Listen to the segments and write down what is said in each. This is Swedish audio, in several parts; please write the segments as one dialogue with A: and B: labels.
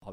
A: Har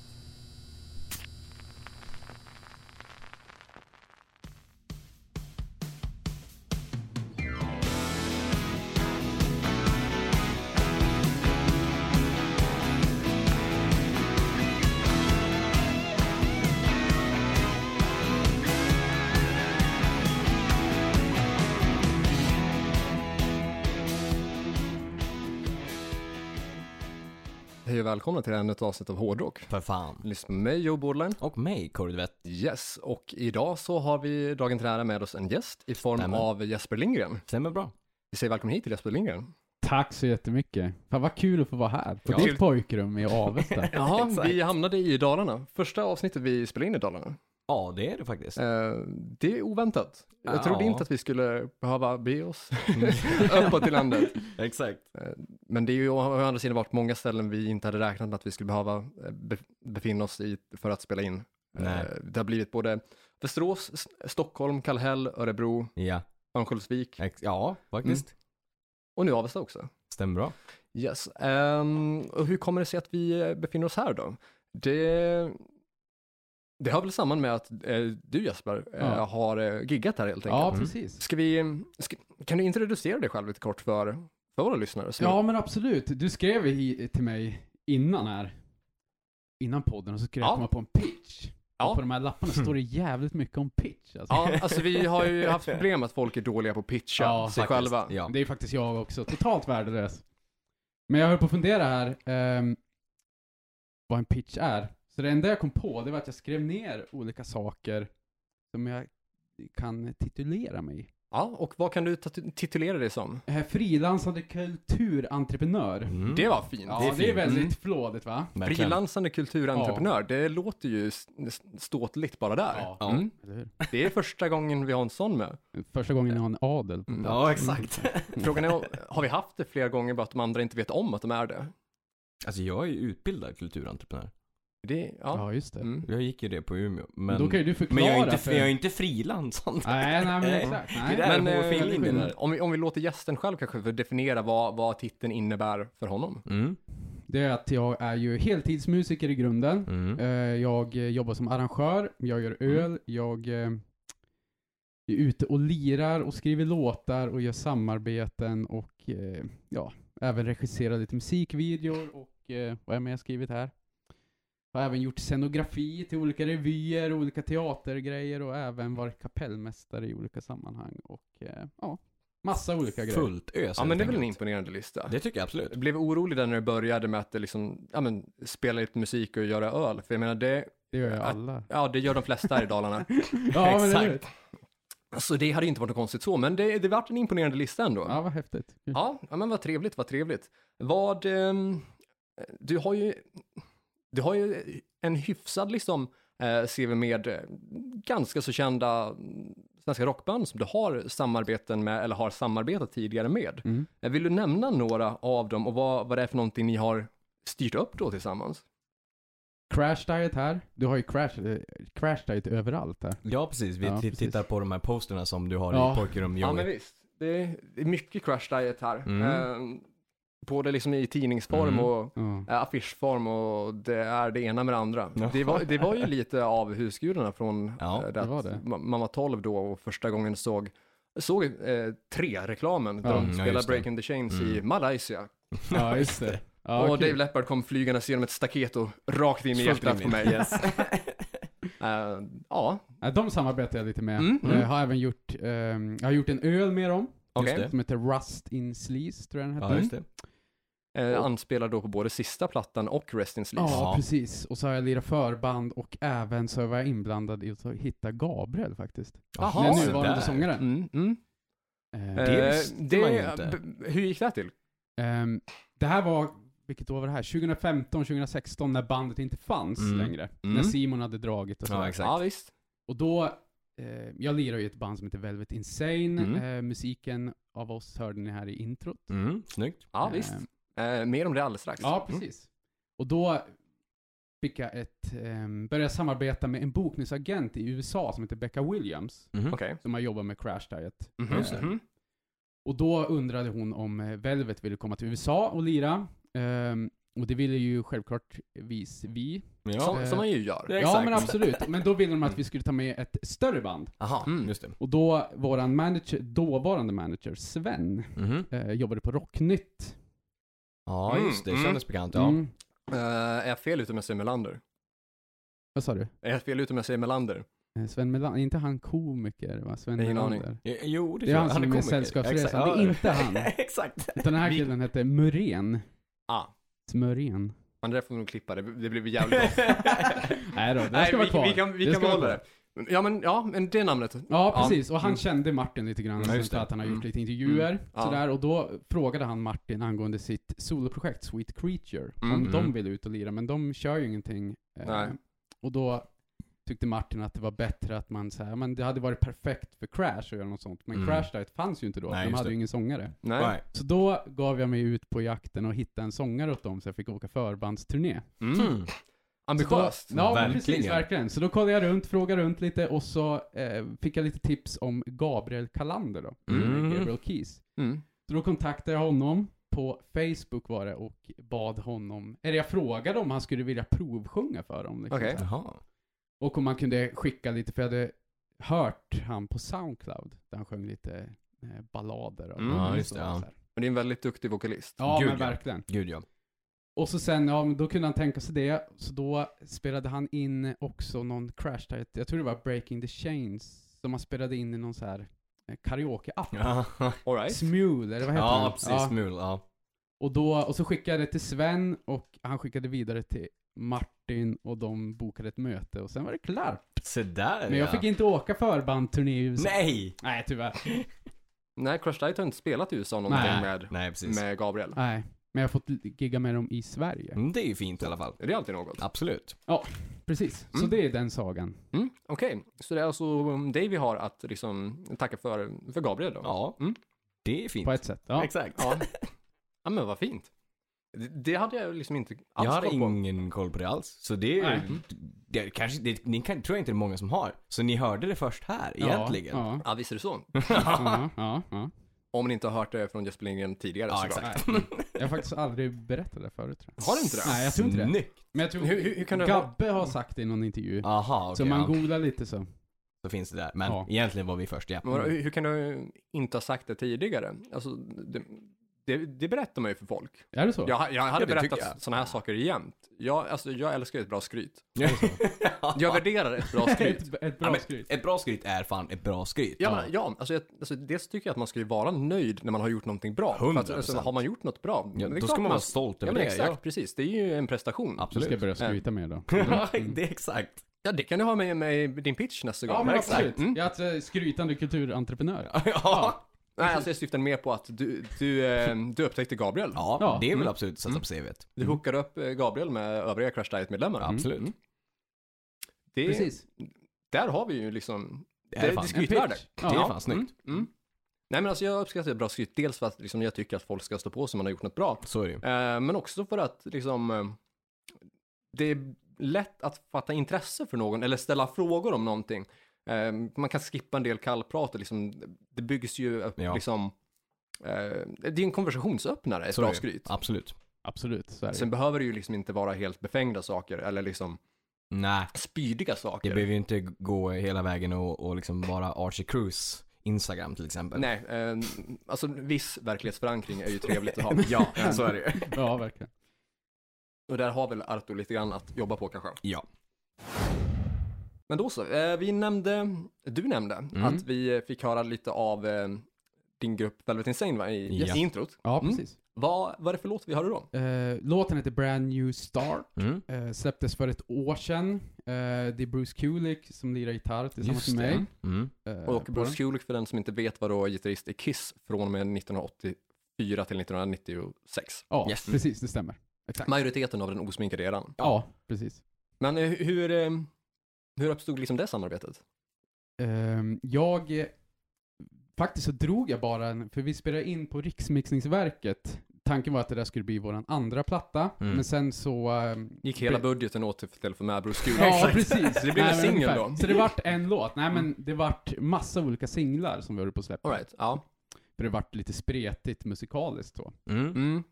A: Hej och välkomna till ännu ett avsnitt av Hårdrock.
B: För fan.
A: Lyssna på mig, Joe Bordline.
B: Och mig, Kurdvett.
A: Yes, och idag så har vi dagen till ära med oss en gäst i form
B: Stämmer.
A: av Jesper Lindgren.
B: Stämmer bra.
A: Vi säger välkommen hit till Jesper Lindgren.
C: Tack så jättemycket. Fan vad kul att få vara här. På
A: Ja. Kul.
C: ditt pojkrum i Avesta.
A: Jaha,
B: Exakt.
A: vi hamnade i Dalarna. Första avsnittet vi spelade in i Dalarna.
B: Ja, det är det faktiskt.
A: Eh, det är oväntat. Jag
B: Ja.
A: trodde inte att vi skulle behöva bege oss uppåt i landet.
B: Exakt.
A: Men det är ju å å andra sidan varit många ställen vi inte hade räknat med att vi skulle behöva eh, bef- befinna oss i för att spela in.
B: Nej.
A: Eh, Det har blivit både Västerås, S- Stockholm, Kallhäll, Örebro,
B: Ja,
A: Örnsköldsvik
B: ex- ja faktiskt.
A: och nu Avesta också.
B: Mm. Stämmer bra.
A: Yes. Ehm, och hur kommer det sig att vi eh, befinner oss här då? Det, det har väl samman med att eh, du Jesper eh,
C: Ja.
A: har eh, giggat här helt enkelt.
C: Ja,
B: Mm.
C: precis.
A: Ska vi, ska, kan du introducera dig själv lite kort för, för våra lyssnare? som-
C: Ja, men absolut. Du skrev i, till mig innan här, innan podden, och så skrev
A: Ja.
C: jag komma på en pitch.
A: Ja. Mm.
C: Och på de här lapparna står det jävligt mycket om pitch. Alltså.
A: ja, alltså vi har ju haft problem med att folk är dåliga på att pitcha
C: Ja,
A: sig
B: Faktiskt.
A: själva.
B: Ja.
C: Det är ju faktiskt jag också. Totalt värdelös. Men jag höll på att fundera här, ehm, vad en pitch är. Så det enda jag kom på, det var att jag skrev ner olika saker som jag kan titulera mig.
A: Ja, och vad kan du tat- titulera dig som?
C: Eh, Frilansande kulturentreprenör.
B: Mm.
A: Det var fint.
C: Ja,
B: Det är
C: det är,
B: fint.
C: väldigt
A: Mm.
C: flådigt va?
B: Verkligen.
A: Frilansande kulturentreprenör, det låter ju s- s- ståtligt bara där.
B: Ja. Mm.
A: Mm.
C: Eller hur?
A: Det är första gången vi har en sån med.
C: Första gången jag har en adel.
A: Mm.
B: Ja, exakt.
A: Frågan är, har vi haft det flera gånger bara att de andra inte vet om att de är det?
B: Alltså jag är ju utbildad kulturentreprenör.
A: det ja.
C: Ja, just det.
A: Mm.
B: Jag gick ju det på Umeå. Men,
C: Men, då kan ju du förklara
B: men jag, är inte,
C: för...
B: jag är inte frilansande.
C: Nej, nej men exakt.
B: Det
C: Nej.
B: där- är
A: Men
B: en hårfin
A: eh,
B: linje där.
A: om, vi, om vi låter gästen själv kanske få definiera vad, vad titeln innebär för honom.
B: Mm.
C: Det är att jag är ju heltidsmusiker i grunden.
B: Mm.
C: Eh, Jag eh, jobbar som arrangör, jag gör öl, jag eh, är ute och lirar och skriver låtar och gör samarbeten och eh, ja, även regisserar lite musikvideor och eh, vad är mer jag skrivit här? Har även gjort scenografi till olika revyer, olika teatergrejer och även varit kapellmästare i olika sammanhang och eh, ja, massa olika grejer.
B: Fullt ös
A: Ja, men
B: helt
A: det är väl en
B: enkelt.
A: imponerande lista.
B: Det tycker jag absolut.
A: Jag blev orolig där när du började med att det liksom, ja, men, spela lite musik och göra öl. För jag menar, det,
C: Det gör jag alla.
A: ja, det gör de flesta här i Dalarna.
C: Ja, men eller hur?
B: Exakt.
A: Så det hade ju inte varit något konstigt så, men det, det vart en imponerande lista ändå.
C: Ja, vad häftigt.
A: Ja, ja men vad trevligt, vad trevligt. Vad, ehm, du har ju, du har ju en hyfsad liksom eh, CV med eh, ganska så kända mm, svenska rockband som du har samarbeten med eller har samarbetat tidigare med.
C: Mm.
A: Eh, Vill du nämna några av dem och vad, vad det är för någonting ni har styrt upp då tillsammans?
C: Crash Diet här. Du har ju Crash, eh, crash Diet överallt här.
B: Ja, precis. Vi
C: Ja,
B: t-
C: precis.
B: tittar på de här posterna som du har
C: Ja.
B: i pojkrum.
A: Ja
B: Joey.
A: men visst, det är, det är mycket crash diet här.
B: Mm.
A: Eh, både liksom i tidningsform
B: Mm.
A: och
C: Ja.
A: Eh, affischform och det är det ena med det andra.
B: Ja.
A: Det var, det var ju lite av husgudarna från
B: Ja,
A: eh,
C: det
A: att
C: var det.
A: ma- man var 12 då och första gången såg såg eh, tre reklamen där
C: Ja.
A: de
B: Mm, ja,
A: spelar
B: just det.
A: Breaking the Chains i
B: Mm.
A: Malaysia.
C: Ja, just det. Ja,
A: och
C: kul.
A: Dave Leppard kom flygandes genom ett staket och rakt in i
B: Fullt
A: hjärtat på
B: rimligt.
A: mig.
B: Yes.
A: Eh, ja,
C: Ja, De samarbetar jag lite med.
A: Mm,
C: Eh,
A: mm.
C: har även gjort, ehm, jag har gjort en öl med dem,
A: okej.
B: det.
C: som heter Rust in Sleaze, tror jag den
B: Ja,
C: heter.
B: just det.
A: Eh, anspelar då på både sista plattan och Rest in
C: Ja,
A: Sleaze.
B: Ja.
C: precis. Och så har jag lirat förband och även så var jag inblandad i att hitta Gabriel faktiskt.
A: Jaha.
C: Den
A: så
C: nuvarande
B: där.
C: sångaren.
A: Mm, mm.
C: Eh,
A: Eh,
B: Det visste man ju inte.
A: b- Hur gick det här till?
C: ehm, det här var, vilket år var det här? 2015, 2016 när bandet inte fanns
B: Mm.
C: längre.
A: Mm.
C: När Simon hade dragit och
B: Ja,
C: sådär.
B: exakt.
A: Ja, visst.
C: Och då, eh, jag lirar ju i ett band som heter Velvet Insane.
A: Mm.
C: Eh, musiken av oss hörde ni här i introt.
B: Mm, snyggt.
A: Ja,
C: Eh,
A: visst. Eh, mer om det alldeles strax.
C: Ja,
A: Mm.
C: precis. Och då fick jag ett, ehm, började jag samarbeta med en bokningsagent i USA som heter Becca Williams,
B: Mhm.
A: Okej.
C: som har jobbat med Crash Diet.
A: Mhm.
C: Mm. Just det.
A: Mhm.
C: Och då undrade hon om eh, Velvet ville komma till USA och lira. Ehm, och det ville ju självklart vis vi.
B: Ja,
A: Som, som man ju gör.
B: Ja,
C: Ja
B: exakt.
C: men absolut. Men då ville de att vi skulle ta med ett större band.
B: aha,
A: Mm.
B: just det.
C: Och då, våran manager, dåvarande manager, Sven,
B: Mhm.
C: eh, jobbade på Rocknytt.
B: Ja, just det.
A: Mm,
B: Kändes bekant. Ja.
C: Mm.
A: Eh, är jag fel ute om jag säger Melander?
C: Vad sa du?
A: Är jag fel ute om jag säger Melander?
C: Eh, Sven Melander, är inte han komiker va? Sven
A: Ingen
C: Melander.
B: Jo, det, tror
C: Det är
B: jag.
C: han som är
B: komiker.
C: Sällskapsresan.
B: Exakt.
C: Det är inte han.
B: Exakt.
C: Utan den här
A: Vi-
C: killen hette Muren.
A: Ah,
C: Smören.
A: men det där får vi nog klippa, det, det blir jävligt bra.
C: Nej då, det där
A: Nej,
C: ska vara
A: vi,
C: kvar.
A: vi kan, vi
C: Det
A: kan
C: ska vara
A: behålla det. Ja men, ja, men det namnet.
C: Ja,
A: Ja,
C: precis. Och han
A: mm.
C: kände Martin lite grann,
B: Ja,
C: sen
B: just
C: för
B: det.
C: att han har gjort
A: Mm.
C: lite intervjuer.
A: Ja.
C: Sådär, och då frågade han Martin angående sitt soloprojekt Sweet Creature, om
A: Mm.
C: de ville ut och lira, men de kör ju ingenting. Eh,
A: Nej.
C: Och då tyckte Martin att det var bättre att man såhär, men det hade varit perfekt för Crash att göra något sånt. Men
B: Mm.
C: Crash Diet fanns ju inte då,
B: Nej,
C: för de
B: just
C: hade
B: det.
C: ju ingen sångare.
A: Nej.
B: Nej.
C: Så då gav jag mig ut på jakten och hittade en sångare åt dem, så jag fick åka förbandsturné.
A: Mm.
B: Mm.
A: Ambitiöst.
C: Så Då, ja,
B: Verkligen.
C: verkligen. precis, verkligen. Så då kollade jag runt, frågade runt lite och så eh, fick jag lite tips om Gabriel Kalander då.
B: Mm.
C: Gabriel Keys.
A: Mm.
C: Så då kontaktade jag honom på Facebook var det och bad honom, eller jag frågade om han skulle vilja provsjunga för dem. Liksom,
A: Okej.
C: så här.
B: Jaha.
C: Och om man kunde skicka lite, för jag hade hört han på Soundcloud, där han sjöng lite eh, ballader. Och
A: Mm, ja,
B: just det,
C: så,
B: ja.
C: så här.
A: Men det är en väldigt duktig vokalist.
C: ja
B: Gud,
C: men
B: ja.
C: verkligen.
B: Gud ja.
C: Och så sen, ja men då kunde han tänka sig det, så då spelade han in också någon crash diet, jag tror det var Breaking the Chains, som han spelade in i någon så här eh, karaoke-app.
B: Ja,
A: All right.
C: Smule, eller vad heter
B: ja
C: han?
B: precis. Mul. Ja.
C: Och, då, och så skickade jag det till Sven, och han skickade vidare till Martin, och de bokade ett möte, och sen var det klart.
B: Se där
C: Men jag
B: ja.
C: fick inte åka förbandturné i USA.
B: Nej!
C: Nej, tyvärr.
A: Nej, Crash Diet har inte spelat i USA någonting
C: Nej.
A: med,
B: Nej, precis.
A: med Gabriel.
C: Nej, men jag har fått gigga med dem i Sverige.
B: Mm, det är ju fint i alla fall.
A: Är det alltid något?
B: Absolut.
C: Precis, så
A: Mm.
C: det är den sagan.
A: Mm. Okej, så det är alltså um, dig vi har att liksom tacka för, för Gabriel då?
B: Ja.
A: Mm.
B: Det är fint.
C: På ett sätt. Ja.
B: Exakt.
A: Ja. ja men vad fint. Det, det hade jag liksom inte alls
B: jag har
A: koll på.
B: ingen koll på det alls. Så det är Mm.
C: Nej.
B: det, kanske, det, ni kan, tror jag inte det är många som har. Så ni hörde det först här egentligen.
C: Ja, Mm.
A: Ja, visst är det så.
C: ja, ja, ja.
A: Om ni inte har hört det från Jesper Lindgren tidigare
B: Ja,
A: såklart.
B: exakt.
C: Nej, jag har faktiskt aldrig berättat det förut tror jag.
A: Har du inte det?
C: Nej, jag tror inte det.
B: Snyggt.
C: Men jag tror
A: Hur, hur, hur kan du...
C: Gabbe har sagt det i någon intervju.
B: Aha,
C: så
B: okej.
C: man
B: ja.
C: googlar lite så.
B: Så finns det där. Men
C: Ja.
B: egentligen var vi först, Mm. ja.
A: Men vadå, hur, hur kan du inte ha sagt det tidigare? Alltså, det, det, det berättar man ju för folk.
C: Är det så?
A: Jag, jag hade
B: det tycker jag.
A: berättat sådana här saker jämt. Jag, alltså, jag älskar ju ett bra skryt.
B: Ja.
A: Jag värderar ett bra skryt.
C: ett, ett bra
B: Ja, men
C: skryt.
B: Ett bra skryt är fan ett bra skryt.
A: Ja, men, ja alltså, jag, alltså, dels tycker jag att man ska ju vara nöjd när man har gjort någonting bra. För att,
B: 100%.
A: alltså, har man gjort något bra,
B: Ja,
A: det är
B: då
A: klart
B: ska man vara stolt
A: Ja,
B: över
A: men
B: det.
A: exakt, precis. Det är ju en prestation.
B: Ja,
C: Du ska jag
B: absolut.
C: börja skryta mer då.
B: Ja, det är exakt.
A: Ja, det kan du ha med, med din pitch nästa gång.
C: Ja, men absolut.
A: Mm.
C: Jag är alltså skrytande kulturentreprenör.
B: Ja,
A: Nej, alltså jag syftar mer på att du, du, eh, du upptäckte Gabriel.
B: ja
C: Ja.
B: det är väl
A: Mm.
B: absolut att sätta på CVt.
A: Du hookade upp eh, Gabriel med övriga Crash Diet-medlemmar.
B: Ja, Absolut.
A: Mm. Det,
C: Precis.
A: Där har vi ju liksom,
B: Det
A: det,
B: är
A: det
B: fan,
A: skrytvärde.
B: det är
C: Ja.
B: fan snyggt.
A: Mm. Mm. Nej men alltså jag uppskattar bra skryt, dels för att liksom, jag tycker att folk ska stå på sig om man har gjort något bra.
B: Så är det ju.
A: Eh, men också för att liksom, eh, det är lätt att fatta intresse för någon eller ställa frågor om någonting. Eh, man kan skippa en del kallprat och liksom, det byggs ju upp
B: Ja.
A: liksom, eh, det är en konversationsöppnare, ett
B: Så är
A: bra
B: det ju.
A: skryt.
B: Absolut.
C: Absolut, så är det.
A: Sen behöver det ju liksom inte vara helt befängda saker eller liksom
B: Nej,
A: spydiga
B: det
A: saker.
B: behöver ju inte gå hela vägen och, och liksom vara Archie Cruz Instagram till exempel.
A: Nej, eh, alltså viss verklighetsförankring är ju trevligt att ha. Eh,
B: Ja, så är det ju.
C: Ja, verkligen.
A: Och där har väl Arto lite grann att jobba på kanske.
B: Ja.
A: Men då så, eh, vi nämnde, du nämnde
B: Mm.
A: att vi eh, fick höra lite av eh, din grupp Velvet Insane va, i,
B: Yes.
A: i introt.
C: Ja,
A: Mm.
C: precis.
A: Vad vad är det för låt vi hörde då?
C: Eh, låten heter Brand New Start.
B: Mm.
C: Eh, släpptes för ett år sedan. Eh, det är Bruce Kulick som lirar gitarr tillsammans
B: Just
C: med mig.
B: det. Mm.
C: Eh,
A: Och
C: på
A: Bruce
C: den.
A: Kulick för den som inte vet var då gitarrist i Kiss från och med 1984 till 1996.
C: Ja,
B: Yes.
C: precis, det stämmer. Exakt.
A: Majoriteten av den osminkade eran.
C: Ja, precis.
A: Men eh, hur, eh, hur uppstod liksom det samarbetet?
C: Ehm, jag, eh, faktiskt så drog jag bara en, för vi spelade in på Riksmixningsverket. Tanken var att det där skulle bli vår andra platta,
B: Mm.
C: men sen så... ehm,
A: Gick hela
C: be-
A: budgeten åt till att få med Bruce Kulick?
C: Ja, precis.
A: Så det blev en
C: Nej, men
A: singel
C: ungefär.
A: då? Mm.
C: Så det vart en låt. Nej men det vart massa olika singlar som vi höll på att släppa.
A: All right, ja.
C: det varit lite spretigt musikaliskt så.
B: Mm.
A: Mm.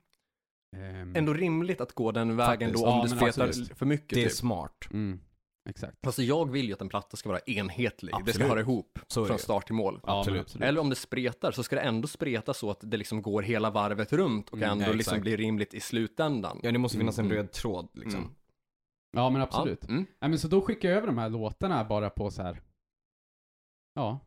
C: Ehm,
A: Ändå rimligt att gå den vägen
B: Faktiskt.
A: då om
C: Ja,
A: du
C: men
A: spretar
B: absolut.
A: för mycket.
B: Det är
A: Typ.
B: smart.
C: Mm, exakt.
A: Alltså jag vill ju att en platta ska vara enhetlig. Det ska
B: Absolut.
A: höra ihop
B: Så är
A: från
B: det.
A: start till mål.
C: Ja, men
B: Absolut.
A: Eller om det spretar så ska det ändå spreta så att det liksom går hela varvet runt och
C: Mm,
A: ändå
B: ja,
A: liksom
B: exakt.
A: blir rimligt i slutändan.
B: Ja, det måste finnas en
C: Mm.
B: röd tråd liksom.
A: Mm.
C: Ja men absolut.
A: Ja, mm.
C: Nej, men så då skickar jag över de här låtarna bara på så här. Ja,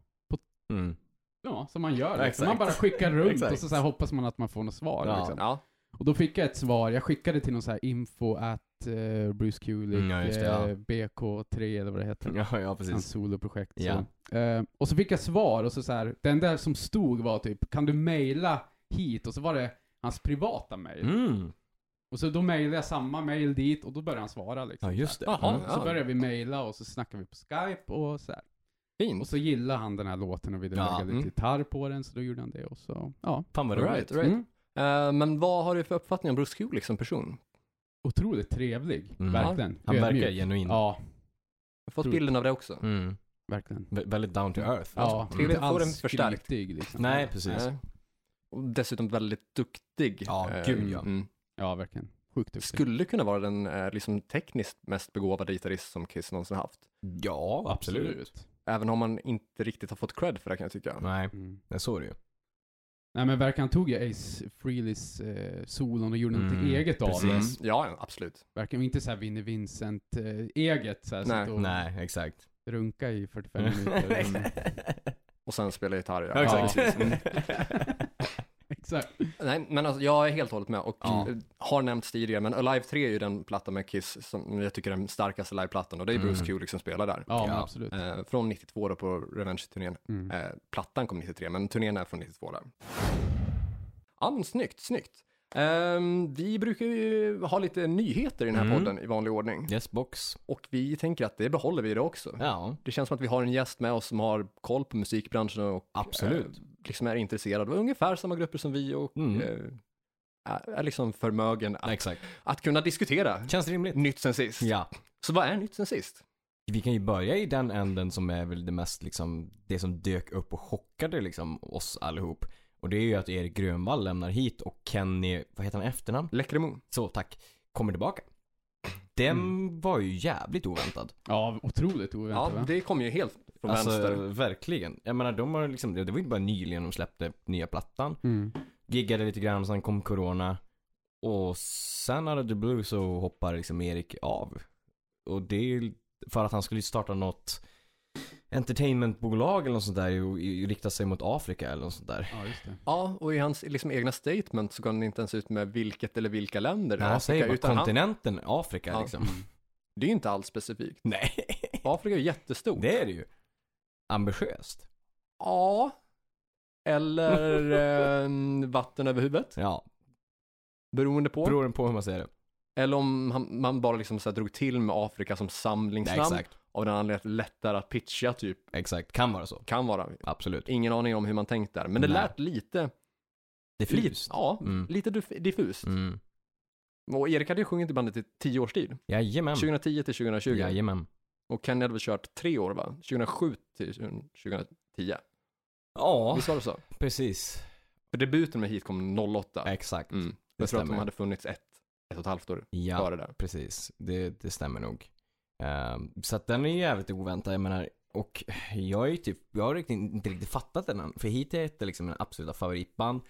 B: Mm.
C: ja som man gör. liksom.
B: Exakt.
C: Man bara skickar runt
B: Exakt.
C: och så, så här hoppas man att man får något svar.
B: Ja.
C: Liksom.
A: ja.
C: Och då fick jag ett svar. Jag skickade till någon så här info att eh, Bruce Kulick,
B: Mm, ja, just det, ja.
C: eh, BK3 eller vad det heter.
B: Ja, ja,
C: Hans
B: precis.
C: soloprojekt.
B: Ja.
C: Så. Eh, och så fick jag svar och så, så här, den där som stod var typ, kan du mejla hit? Och så var det hans privata mejl.
B: Mm.
C: Och så då mejlade jag samma mejl dit och då började han svara liksom.
B: Ja, just det.
A: Jaha,
B: Mm.
C: Så började vi mejla och så snackade vi på skype och så här. Och
A: Fint.
C: så gillade han den här låten och ville
B: Ja,
C: lägga lite
A: mm.
C: gitarr på den så då gjorde han det och så, ja.
B: Fan vad
A: All
B: roligt.
A: right, all right.
C: Mm.
A: Eh, men vad har du för uppfattning om Bruce Kulick som person?
C: Otroligt trevlig,
B: Mm.
C: verkligen.
B: Han verkar
C: Ödmjuk.
B: genuin.
C: Ja,
A: Jag har fått
C: Otroligt.
A: bilden av det också.
B: Mm.
C: verkligen.
B: Vä- väldigt down to earth.
C: Ja,
B: Mm.
A: trevligt.
C: inte
A: att få den
C: alls
A: förstärkt.
C: skrytig, liksom.
B: Nej, precis.
A: Eh, och dessutom väldigt duktig.
B: Ja,
A: Eh,
B: gud, ja.
A: mm.
C: Ja, verkligen. Sjukt duktig.
A: Skulle kunna vara den eh, liksom tekniskt mest begåvade gitarrist som Kiss någonsin haft.
B: Ja, absolut.
A: Även om man inte riktigt har fått cred för det kan jag tycka.
B: Nej,
C: Mm.
B: det såg du ju.
C: Nej men verkligen han tog ju Ace Frehleys eh, solon och gjorde något
B: Mm,
C: eget av
B: precis.
C: det.
A: Mm. Ja, ja, absolut.
C: Verkligen inte såhär Vinnie Vincent eh, eget såhär,
A: Nej.
C: sitta och
B: Nej, exakt.
C: runka i 45 minuter. Mm.
A: Och sen spela gitarr.
B: Ja, exakt.
A: precis. Mm.
C: Exakt.
A: Nej, men alltså, jag är helt och hållet med och
B: Ja.
A: eh, har nämnts tidigare, men Alive 3 är ju den platta med Kiss som jag tycker är den starkaste liveplattan och det är Bruce
B: Mm.
A: Kulick som spelar där.
C: Ja, men
B: Ja.
C: absolut.
A: Eh, från 92 då på Revenge-turnén.
C: Mm.
A: Eh, plattan kom 93, men turnén är från 92 där. Ja, men snyggt, snyggt. Ehm, vi brukar ju ha lite nyheter i den här
B: Mm.
A: podden i vanlig ordning
B: Yes box.
A: och vi tänker att det behåller vi det också.
B: Ja,
A: Det känns som att vi har en gäst med oss som har koll på musikbranschen och
B: absolut.
A: eh, liksom är intresserad. Det var ungefär samma grupper som vi och
B: Mm.
A: eh, är- är liksom förmögen att,
B: Exakt.
A: att kunna diskutera
B: Känns rimligt.
A: nytt sen sist.
B: Ja.
A: Så vad är nytt sen sist?
B: Vi kan ju börja i den änden som är väl det mest liksom, det som dök upp och chockade liksom oss allihop. Och det är ju att Erik Grönvall lämnar hit och Kenny, vad heter han i efternamn?
A: Läckremo.
B: Så tack, kommer tillbaka. Den
A: Mm.
B: var ju jävligt oväntad.
C: Ja, otroligt oväntat
A: Ja,
C: va?
A: det kom ju helt från
B: alltså
A: vänster.
B: verkligen. Jag menar de har liksom, det var ju inte bara nyligen de släppte nya plattan.
C: Mm.
B: Giggade lite grann, sen kom corona. Och sen out of the blue så hoppar liksom Erik av. Och det är ju för att han skulle starta något entertainmentbolag eller något sånt där och i- rikta sig mot Afrika eller något sånt där.
C: Ja, just det.
A: Ja, och i hans liksom, egna statement så går han inte ens ut med vilket eller vilka länder i
B: Nej, han säger bara
A: utan han,
B: kontinenten Afrika
A: Ja.
B: liksom.
C: Mm.
A: det är ju inte alls specifikt.
B: Nej,
A: Afrika är ju jättestort.
B: det är det ju. Ambitiöst.
A: Ja, eller eh, vatten över huvudet,
B: Ja,
A: beroende på.
B: beror på hur man ser det.
A: Eller om han, man bara liksom så här drog till med Afrika som
B: Nej,
A: samlingsnamn.
B: exakt.
A: av den anledningen att det är lättare att pitcha typ
B: Exakt, kan vara så.
A: kan vara.
B: Absolut.
A: Ingen aning om hur man tänkt där, men det
B: Nej.
A: lät lite, lite,
B: Diffust.
A: ja,
B: Mm.
A: lite dif- diffust.
B: Mm.
A: Och Erik hade ju sjungit i bandet i tio års tid,
B: Jajamän.
A: 2010 till 2020.
B: Jajamän.
A: Och Kenny hade väl kört tre år va? 2007 till 2010.
B: Ja,
A: Visst var det så?
B: precis.
A: För debuten med Heat kom 08.
B: Exakt.
A: Mm.
B: det
A: Jag tror att de
B: stämmer.
A: hade funnits ett, ett och ett halvt år
B: Ja.
A: före där.
B: Precis, det, det stämmer nog. Ehm, så att den är ju jävligt oväntad, jag menar. Och jag är ju typ, jag har riktigt, inte riktigt fattat den än. För hit är det liksom mina absoluta favoritband.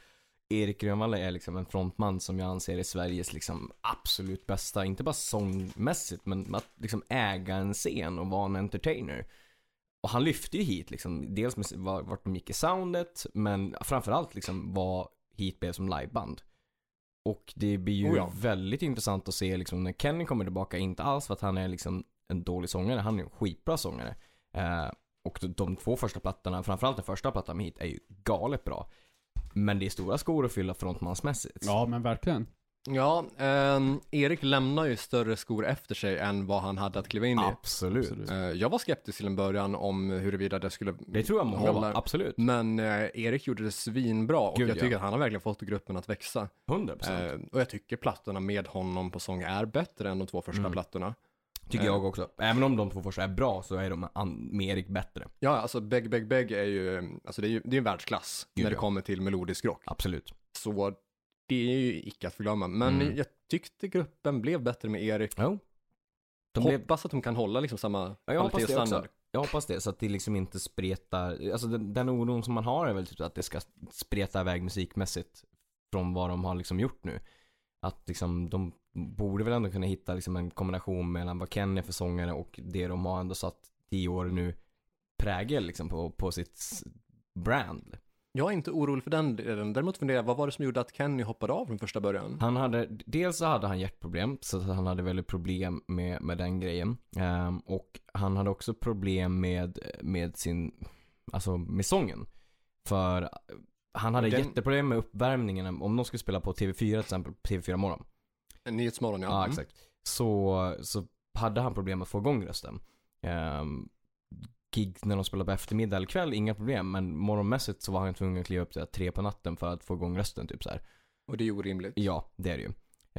B: Erik Grönvall är liksom en frontman som jag anser är Sveriges liksom absolut bästa, inte bara sångmässigt men att liksom äga en scen och vara en entertainer. Och han lyfte ju hit liksom, dels med var- vart de gick i soundet men framförallt liksom vad hit blev som liveband. Och det blir ju
A: Oh ja.
B: väldigt intressant att se liksom när Kenny kommer tillbaka, inte alls för att han är liksom en dålig sångare, han är en skitbra sångare. Eh, och de- de två första plattorna, framförallt den första plattan med hit, är ju galet bra. Men det är stora skor att fylla frontmansmässigt.
C: Ja, men verkligen.
A: Ja, ehm, Erik lämnar ju större skor efter sig än vad han hade att kliva in i.
B: absolut.
C: Absolut.
A: Eh, jag var skeptisk till en början om huruvida det skulle,
B: Det tror jag många
A: Håller.
B: var, absolut.
A: men eh, Erik gjorde det svinbra och
B: Gud,
A: jag tycker
B: ja.
A: att han har verkligen fått gruppen att växa.
B: 100%.
A: Eh, och jag tycker plattorna med honom på sång är bättre än de två första
B: Mm.
A: plattorna.
B: Tycker
A: Eh.
B: jag också. Även om de två första är bra så är de an- med Erik bättre.
A: Ja, alltså Beg Beg Beg är ju, alltså det är ju det är en världsklass
B: Gud,
A: när det
B: ja.
A: kommer till melodisk rock.
B: Absolut.
A: Så det är ju icke att förglömma. Men
B: Mm.
A: jag tyckte gruppen blev bättre med Erik.
B: Jo. De blev,
A: Hoppas att de kan hålla liksom samma
B: Ja, jag hoppas
A: kvalitet
B: det
A: och
B: också.
A: standard.
B: Jag hoppas det, så att det liksom inte spretar, alltså den, den oron som man har är väl typ att det ska spreta iväg musikmässigt från vad de har liksom gjort nu. Att liksom de borde väl ändå kunna hitta liksom en kombination mellan vad Ken är för sångare och det de har ändå satt tio år nu prägel liksom på, på sitt s- brand.
A: Jag är inte orolig för den delen. Däremot funderar jag, vad var det som gjorde att Kenny hoppade av från första början?
B: Han hade, dels så hade han hjärtproblem, så att han hade väldigt problem med, med den grejen. Ehm, och han hade också problem med, med sin, alltså med sången. För eh, han hade
A: Den-
B: jätteproblem med uppvärmningen, om de skulle spela på TV4 till exempel, på TV4 morgon.
A: Nyhetsmorgon, ja.
B: Ja,
A: Mm.
B: exakt. Så, så hade han problem att få igång rösten. Ehm, gig när de spelade på eftermiddag eller kväll, inga problem. Men morgonmässigt så var han tvungen att kliva upp till tre på natten för att få igång rösten typ så här.
A: Och det är ju orimligt.
B: Ja, det är det ju.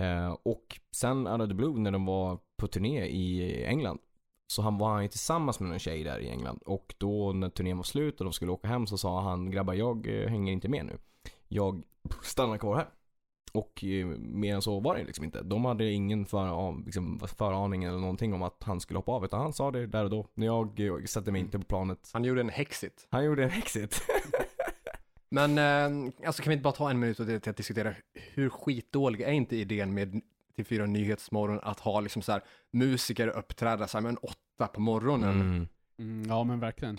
B: Eh, och sen Out of the Blue när de var på turné i England. Så han var han ju tillsammans med en tjej där i England. Och då när turnén var slut och de skulle åka hem så sa han grabbar jag eh, hänger inte med nu. Jag stannar kvar här. Och eh, mer än så var det liksom inte. De hade ingen för, liksom, föraning eller någonting om att han skulle hoppa av. Utan han sa det där och då. När jag eh, satte mig inte på planet.
A: Han gjorde en hexit.
B: Han gjorde en exit.
A: Men eh, alltså kan vi inte bara ta en minut och det till att diskutera hur skitdålig är inte idén med TV4 Nyhetsmorgon att ha liksom så här musiker uppträda så här med en åtta på morgonen.
C: Mm, ja men verkligen.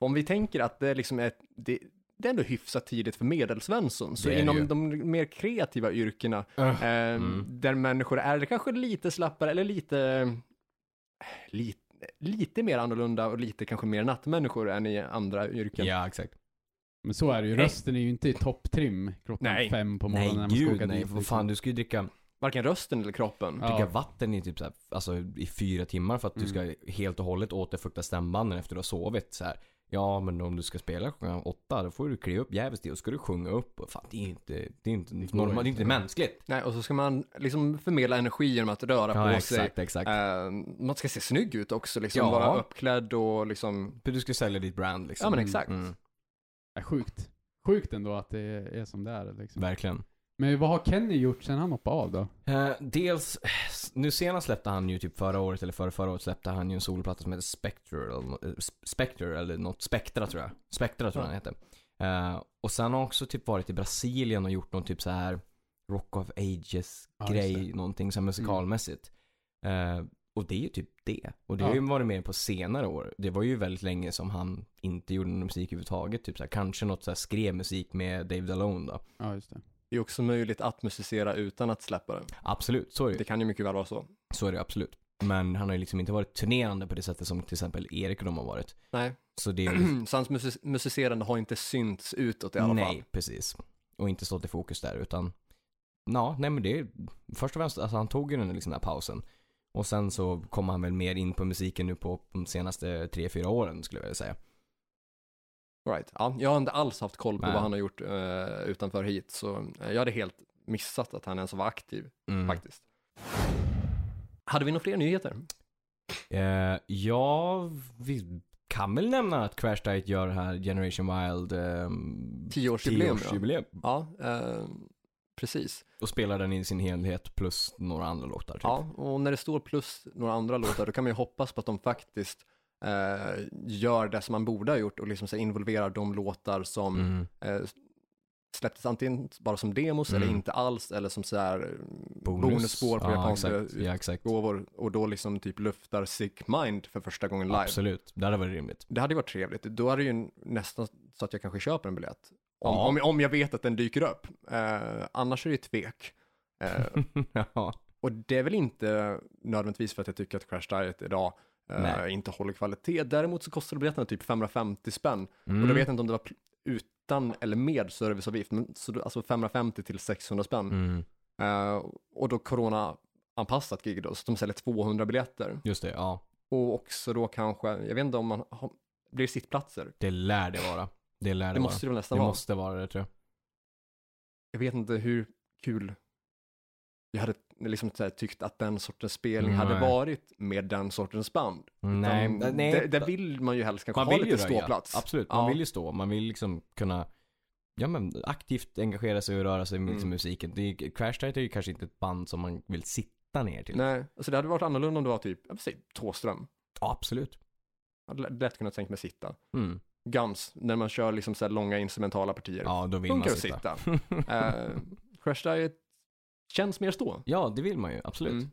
A: Om vi tänker att det liksom är, det, det är ändå hyfsat tidigt för medelsvensson, så
B: Det är det
A: inom
B: ju.
A: de mer kreativa yrkena,
B: Ugh.
A: eh,
B: Mm.
A: där människor är kanske lite slappare eller lite, lite, lite mer annorlunda och lite kanske mer nattmänniskor än i andra yrken.
B: Ja, exakt.
C: Men så är det ju,
A: Nej.
C: rösten är ju inte i topptrim klockan
A: Nej.
C: fem på morgonen
B: Nej,
C: när man ska
B: gud
C: åka
B: nej.
C: dit. liksom.
B: Vad fan, du ska ju dricka
A: Varken rösten eller kroppen.
C: Ja.
B: dricka vatten i typ så här, alltså i fyra timmar för att du
C: Mm.
B: ska helt och hållet återfukta stämbanden efter du har sovit så här. Ja men om du ska spela klockan åtta då får du kliva upp jävligt och ska du sjunga upp. Och Fan det är ju inte, det är inte
C: går
B: normalt, det är
C: inte.
B: inte mänskligt.
A: Nej, och så ska man liksom förmedla energi genom att röra på sig.
B: exakt.
A: Eh, man ska se snygg ut också, liksom
B: Ja.
A: vara uppklädd och liksom,
B: Du ska sälja ditt brand liksom.
A: ja men
C: Mm.
A: exakt.
B: Mm,
C: Ja, sjukt. Sjukt ändå att det är som det är liksom.
B: verkligen.
C: Men vad har Kenny gjort sen han hoppade av då?
B: Eh, dels, nu senast släppte han ju typ förra året eller förra, förra året släppte han ju en soloplatta som heter Spectral, eh, Sp- Spectre eller något, Spectra tror jag. Spectra tror jag den heter. Eh, och sen har han också typ varit i Brasilien och gjort någon typ så här Rock of Ages
C: Ja,
B: grej,
C: just
B: någonting så här musikalmässigt. Eh, och det är ju typ det. Och det har
C: Ja.
B: ju varit mer på senare år. Det var ju väldigt länge som han inte gjorde någon musik överhuvudtaget. Typ så här, kanske något så här skrev musik med Dave Dalone då.
C: Ja, just det.
A: Det är också möjligt att musicera utan att släppa det.
B: Absolut, så är det ju.
A: Det kan ju mycket väl vara så.
B: Så är det absolut. Men han har ju liksom inte varit turnerande på det sättet som till exempel Erik och de har varit.
A: Nej,
B: Så det är
A: så hans music- musicerande har inte synts utåt i alla fall.
B: Nej, precis. Och inte stått i fokus där utan, ja, nej men det är, först och främst, alltså han tog ju den, liksom, den här pausen. Och sen så kom han väl mer in på musiken nu på de senaste tre, fyra åren skulle jag vilja säga.
A: Right. Ja, jag har inte alls haft koll på
B: Nej.
A: vad han har gjort eh, utanför hit, så eh, jag hade helt missat att han ens var aktiv
B: Mm.
A: faktiskt. Hade vi några fler nyheter?
B: Eh, ja, vi kan väl nämna att Crash Diet gör det här Generation Wild ehm,
A: Tioårsjubileum, ja.
B: tioårsjubileum.
A: ja eh, precis.
B: Och spelar den i sin helhet plus några andra låtar typ.
A: Ja, och när det står plus några andra låtar, då kan man ju hoppas på att de faktiskt eh, gör det som man borde ha gjort och liksom så här, involverar de låtar som
B: Mm.
A: eh, släpptes antingen bara som demos eller
B: Mm.
A: inte alls eller som så här eh,
B: Bonus.
A: bonusspår på japanska
B: exakt. Ja, exakt.
A: utgåvor och då liksom typ luftar Sick Mind för första gången live.
B: Absolut, det hade varit rimligt.
A: Det hade ju varit trevligt. Då hade det ju nästan så att jag kanske köper en biljett. Om,
B: Ja.
A: om, om jag vet att den dyker upp. Eh, annars är det ju tvek. Eh,
B: ja.
A: och det är väl inte nödvändigtvis för att jag tycker att Crash Diet idag eh,
B: Nej.
A: inte håller kvalitet. Däremot så kostar biljetterna typ 550 spänn.
B: Mm.
A: Och då vet jag inte om det var pl- utan eller med serviceavgift. Men, så, då- alltså 550 till 600 spänn.
B: Mm.
A: Eh, och då corona-anpassat gig då, så de säljer 200 biljetter.
B: Just det, ja.
A: Och också då kanske, jag vet inte om man har, blir det sittplatser.
B: Det lär det vara. Det lär det,
A: Det måste det väl
B: vara.
A: nästan
B: Det
A: vara.
B: måste vara det tror jag.
A: Jag vet inte hur kul jag hade liksom så här, tyckt att den sortens spelning
B: Mm,
A: hade
B: nej.
A: varit med den sortens band.
B: Mm, Nej,
A: Utan
B: nej.
A: där, där vill man ju helst kanske ha lite
B: röja.
A: ståplats.
B: Absolut, man
A: Ja.
B: vill ju stå. Man vill liksom kunna ja, men, aktivt engagera sig och röra sig med liksom,
A: Mm.
B: musiken. Det är, Crash Diet är ju kanske inte ett band som man vill sitta ner till.
A: Nej, alltså det hade varit annorlunda om det var typ, jag vill säga, Thåström.
B: Ja, absolut.
A: Jag hade lä- lätt kunnat tänka mig sitta.
B: Mm.
A: Gams, när man kör liksom så här långa instrumentala partier.
B: Ja, då vill
A: Funkar
B: man
A: att
B: sitta.
A: sitta. Eh, Crash Diet känns mer stå.
B: ja, det vill man ju. Absolut. Mm.
A: Mm.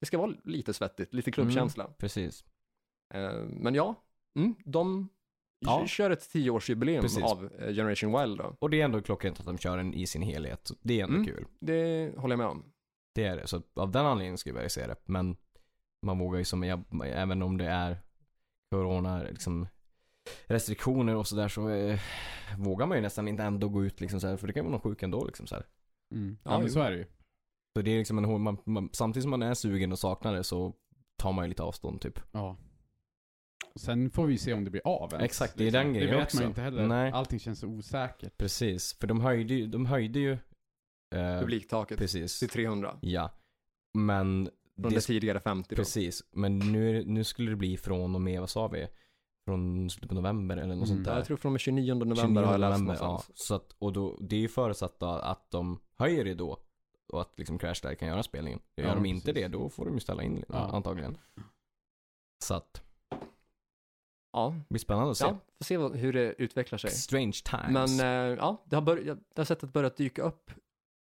A: Det ska vara lite svettigt, lite klubbkänsla.
B: Precis.
A: Eh, men ja, mm, de
B: Ja.
A: kör ett tioårsjubileum
B: Precis.
A: av eh, Generation Wild då.
B: Och det är ändå klockrent att de kör den i sin helhet. Så det är ändå
A: Mm.
B: kul.
A: Det håller jag med om.
B: Det är det. Så av den anledningen skulle jag vilja se det. Men man vågar ju som, jag, även om det är corona, liksom restriktioner och sådär så eh, vågar man ju nästan inte ändå gå ut liksom så här, för det kan vara någon sjuk ändå liksom så här.
C: Mm. Ja,
A: Ja,
C: men
A: jo.
C: så är det ju.
B: Så det är liksom en, hård- man, man, samtidigt som man är sugen och saknar det så tar man ju lite avstånd typ.
C: Ja. Och Sen får vi se om det blir av ens, liksom.
B: Exakt, det är den
C: Det
B: grejen
C: vet
B: också.
C: man ju inte heller.
B: Nej.
C: Allting känns så osäkert.
B: Precis, för de höjde ju, de höjde ju eh,
A: Publiktaket
B: Precis,
A: till 300.
B: ja. Men
A: Från det,
B: det
A: tidigare 50 då.
B: Precis, men nu, är det- nu skulle det bli från och med, vad sa vi? Från slutet på november eller något
C: Mm.
B: sånt
A: Ja, jag
B: där.
A: tror från den 29 november har jag läst någonstans.
B: ja. Så att, och då, det är ju förutsatt då att de höjer det då. Och att liksom Crash där kan göra spelningen. Gör
C: Ja,
B: de inte
C: precis.
B: det, då får de ju ställa in
C: Ja.
B: antagligen. Så att,
A: Ja,
B: det blir spännande att se.
A: ja får se vad- hur det utvecklar sig.
B: Strange times.
A: Men eh, ja, det har, börjat, det har sett att börjat dyka upp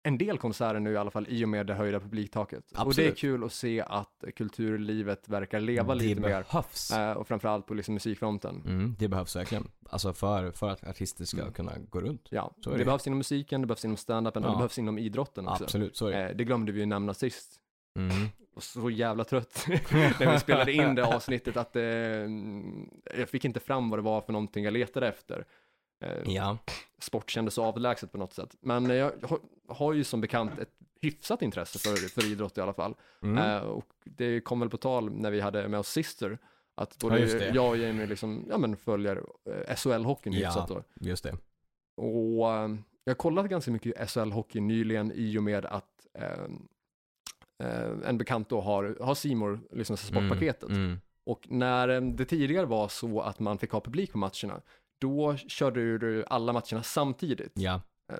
A: en del konserter nu i alla fall i och med det höjda publiktaket. Och det är
B: Absolut.
A: kul att se att kulturlivet verkar leva lite
B: Mm, det
A: mer.
B: behövs.
A: Eh, och framförallt på liksom musikfronten.
B: Mm, det behövs verkligen. Alltså för, för att artister ska
A: Mm.
B: kunna gå runt.
A: Ja,
B: Så är
A: det,
B: det.
A: behövs inom musiken, det behövs inom standupen och
B: Ja.
A: det behövs inom idrotten också.
B: Absolut, så är det.
A: Eh, det glömde vi ju nämna sist.
B: Mm.
A: Och så jävla trött när vi spelade in det avsnittet att eh, jag fick inte fram vad det var för någonting jag letade efter. Eh,
B: Ja,
A: sport kändes så avlägset på något sätt. Men eh, jag har, har ju som bekant ett hyfsat intresse för, för idrott i alla fall.
B: mm.
A: Eh, och det kom väl på tal när vi hade med oss Sister, att
B: Ja,
A: både
B: just det.
A: jag och Jamie liksom, ja, men följer eh, SHL-hockeyn
B: Ja.
A: hyfsat då.
B: just det. Mm,
A: Och eh, jag har kollat ganska mycket SHL-hockey nyligen i och med att eh, eh, en bekant då har, har C More, liksom sportpaketet.
B: Mm. Mm.
A: Och när eh, det tidigare var så att man fick ha publik på matcherna, då körde du alla matcherna samtidigt.
B: Ja,
A: Eh,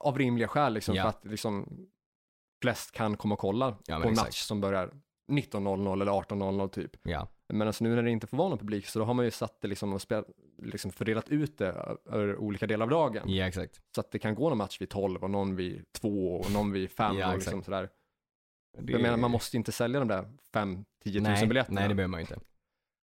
A: av rimliga skäl, liksom,
B: Ja.
A: för att liksom, flest kan komma och kolla
B: Ja, men
A: på en
B: exakt.
A: match som börjar 19.00 eller 18.00 typ.
B: ja.
A: Men alltså nu när det inte får vara någon publik så då har man ju satt det liksom och spel, liksom fördelat ut det ö- över olika delar av dagen.
B: Ja, exakt.
A: Så att det kan gå någon match vid 12 och någon vid 2 och någon vid 5
B: Ja,
A: och
B: exakt.
A: liksom sådär.
B: Det...
A: Jag menar man måste inte sälja de där 5-10
B: nej,
A: tusen biljetterna.
B: Nej, det behöver man ju inte.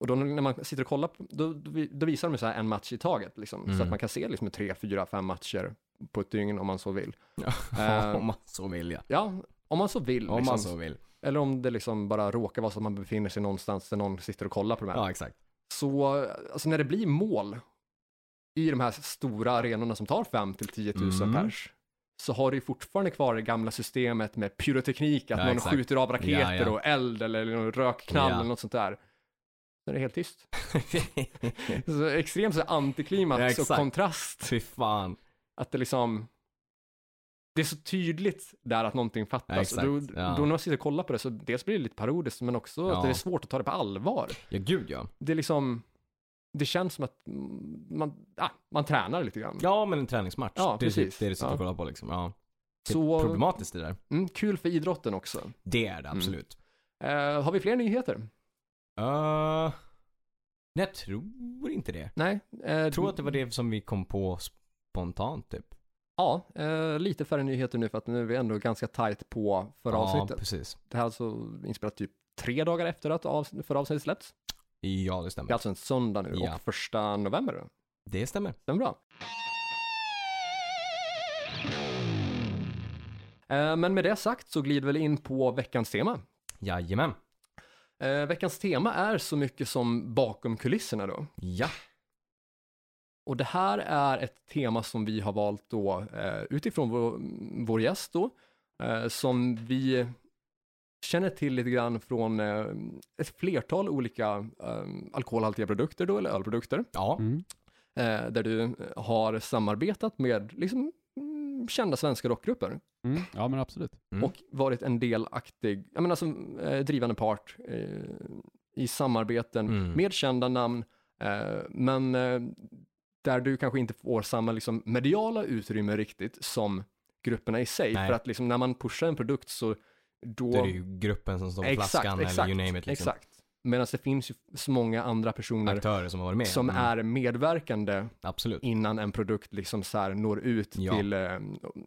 A: Och då när man sitter och kollar, på, då, då vi- då visar de ju så här en match i taget liksom.
B: Mm.
A: Så att man kan se liksom tre, fyra, fem matcher på ett dygn om man så vill. Eh,
B: Ja, Ehm, om man så vill ja.
A: Ja, om man så vill.
B: Om
A: liksom.
B: man så vill.
A: Eller om det liksom bara råkar vara så att man befinner sig någonstans där någon sitter och kollar på de här.
B: Ja, exakt.
A: Så alltså när det blir mål i de här stora arenorna som tar 5 till 10 000
B: Mm.
A: pers så har du fortfarande kvar det gamla systemet med pyroteknik, att
B: Ja,
A: någon
B: exakt.
A: skjuter av raketer
B: Ja, ja.
A: och eld eller någon rökknall
B: Ja.
A: eller något sånt där. Sen är det helt tyst. Så extremt så här antiklimax
B: Ja,
A: och
B: exakt.
A: kontrast.
B: Fy fan.
A: Att det liksom, det är så tydligt där att någonting
B: Ja,
A: fattas.
B: exakt.
A: och då,
B: Ja.
A: då när man sitter och kollar på det så dels blir det lite parodiskt men också
B: Ja.
A: att det är svårt att ta det på allvar
B: Ja, gud ja.
A: det är liksom, det känns som att mm, man, ah, man tränar lite grann.
B: Ja, men en träningsmatch.
A: Ja,
B: det är
A: precis.
B: typ det du sitter och
A: Ja.
B: kollar på liksom. Ja. Det är
A: Så
B: problematiskt det där.
A: mm, kul för idrotten också.
B: Det är det
A: Mm.
B: absolut.
A: Eh, har vi fler nyheter?
B: Eh, nej, jag tror inte det.
A: Nej. eh,
B: Jag tror att det var det som vi kom på spontant typ.
A: Ja, eh, lite färre nyheter nu för att nu är vi ändå ganska tajt på förra
B: Ja,
A: avsnittet.
B: precis.
A: Det här är alltså inspelat typ tre dagar efter att avs- förra avsnittet släppts.
B: Ja, det
A: Det är
B: stämmer.
A: alltså en söndag nu
B: Ja.
A: och första november.
B: Det stämmer.
A: Stämmer bra. Eh, Men med det sagt så glider vi in på veckans tema.
B: Jajamän.
A: Eh, veckans tema är så mycket som bakom kulisserna då.
B: Ja.
A: Och det här är ett tema som vi har valt då eh, utifrån vår, vår gäst då, eh, som vi känner till lite grann från eh, ett flertal olika eh, alkoholhaltiga produkter då, eller ölprodukter,
B: Ja.
C: Mm.
A: eh, där du har samarbetat med liksom mm, kända svenska rockgrupper
C: Mm. Ja men absolut.
B: Mm.
A: och varit en delaktig, jag menar som eh, drivande part eh, i samarbeten
B: Mm.
A: med kända namn, eh, men eh, där du kanske inte får samma liksom, mediala utrymme riktigt som grupperna i sig.
B: Nej.
A: För att liksom, när man pushar en produkt så då...
B: Då är det ju gruppen som står på flaskan eller you name it. Liksom.
A: Exakt. Medan det finns ju så många andra personer
B: Aktörer som har varit med.
A: som
B: Mm,
A: är medverkande
B: Absolut.
A: innan en produkt liksom så här når ut
B: Ja.
A: till eh,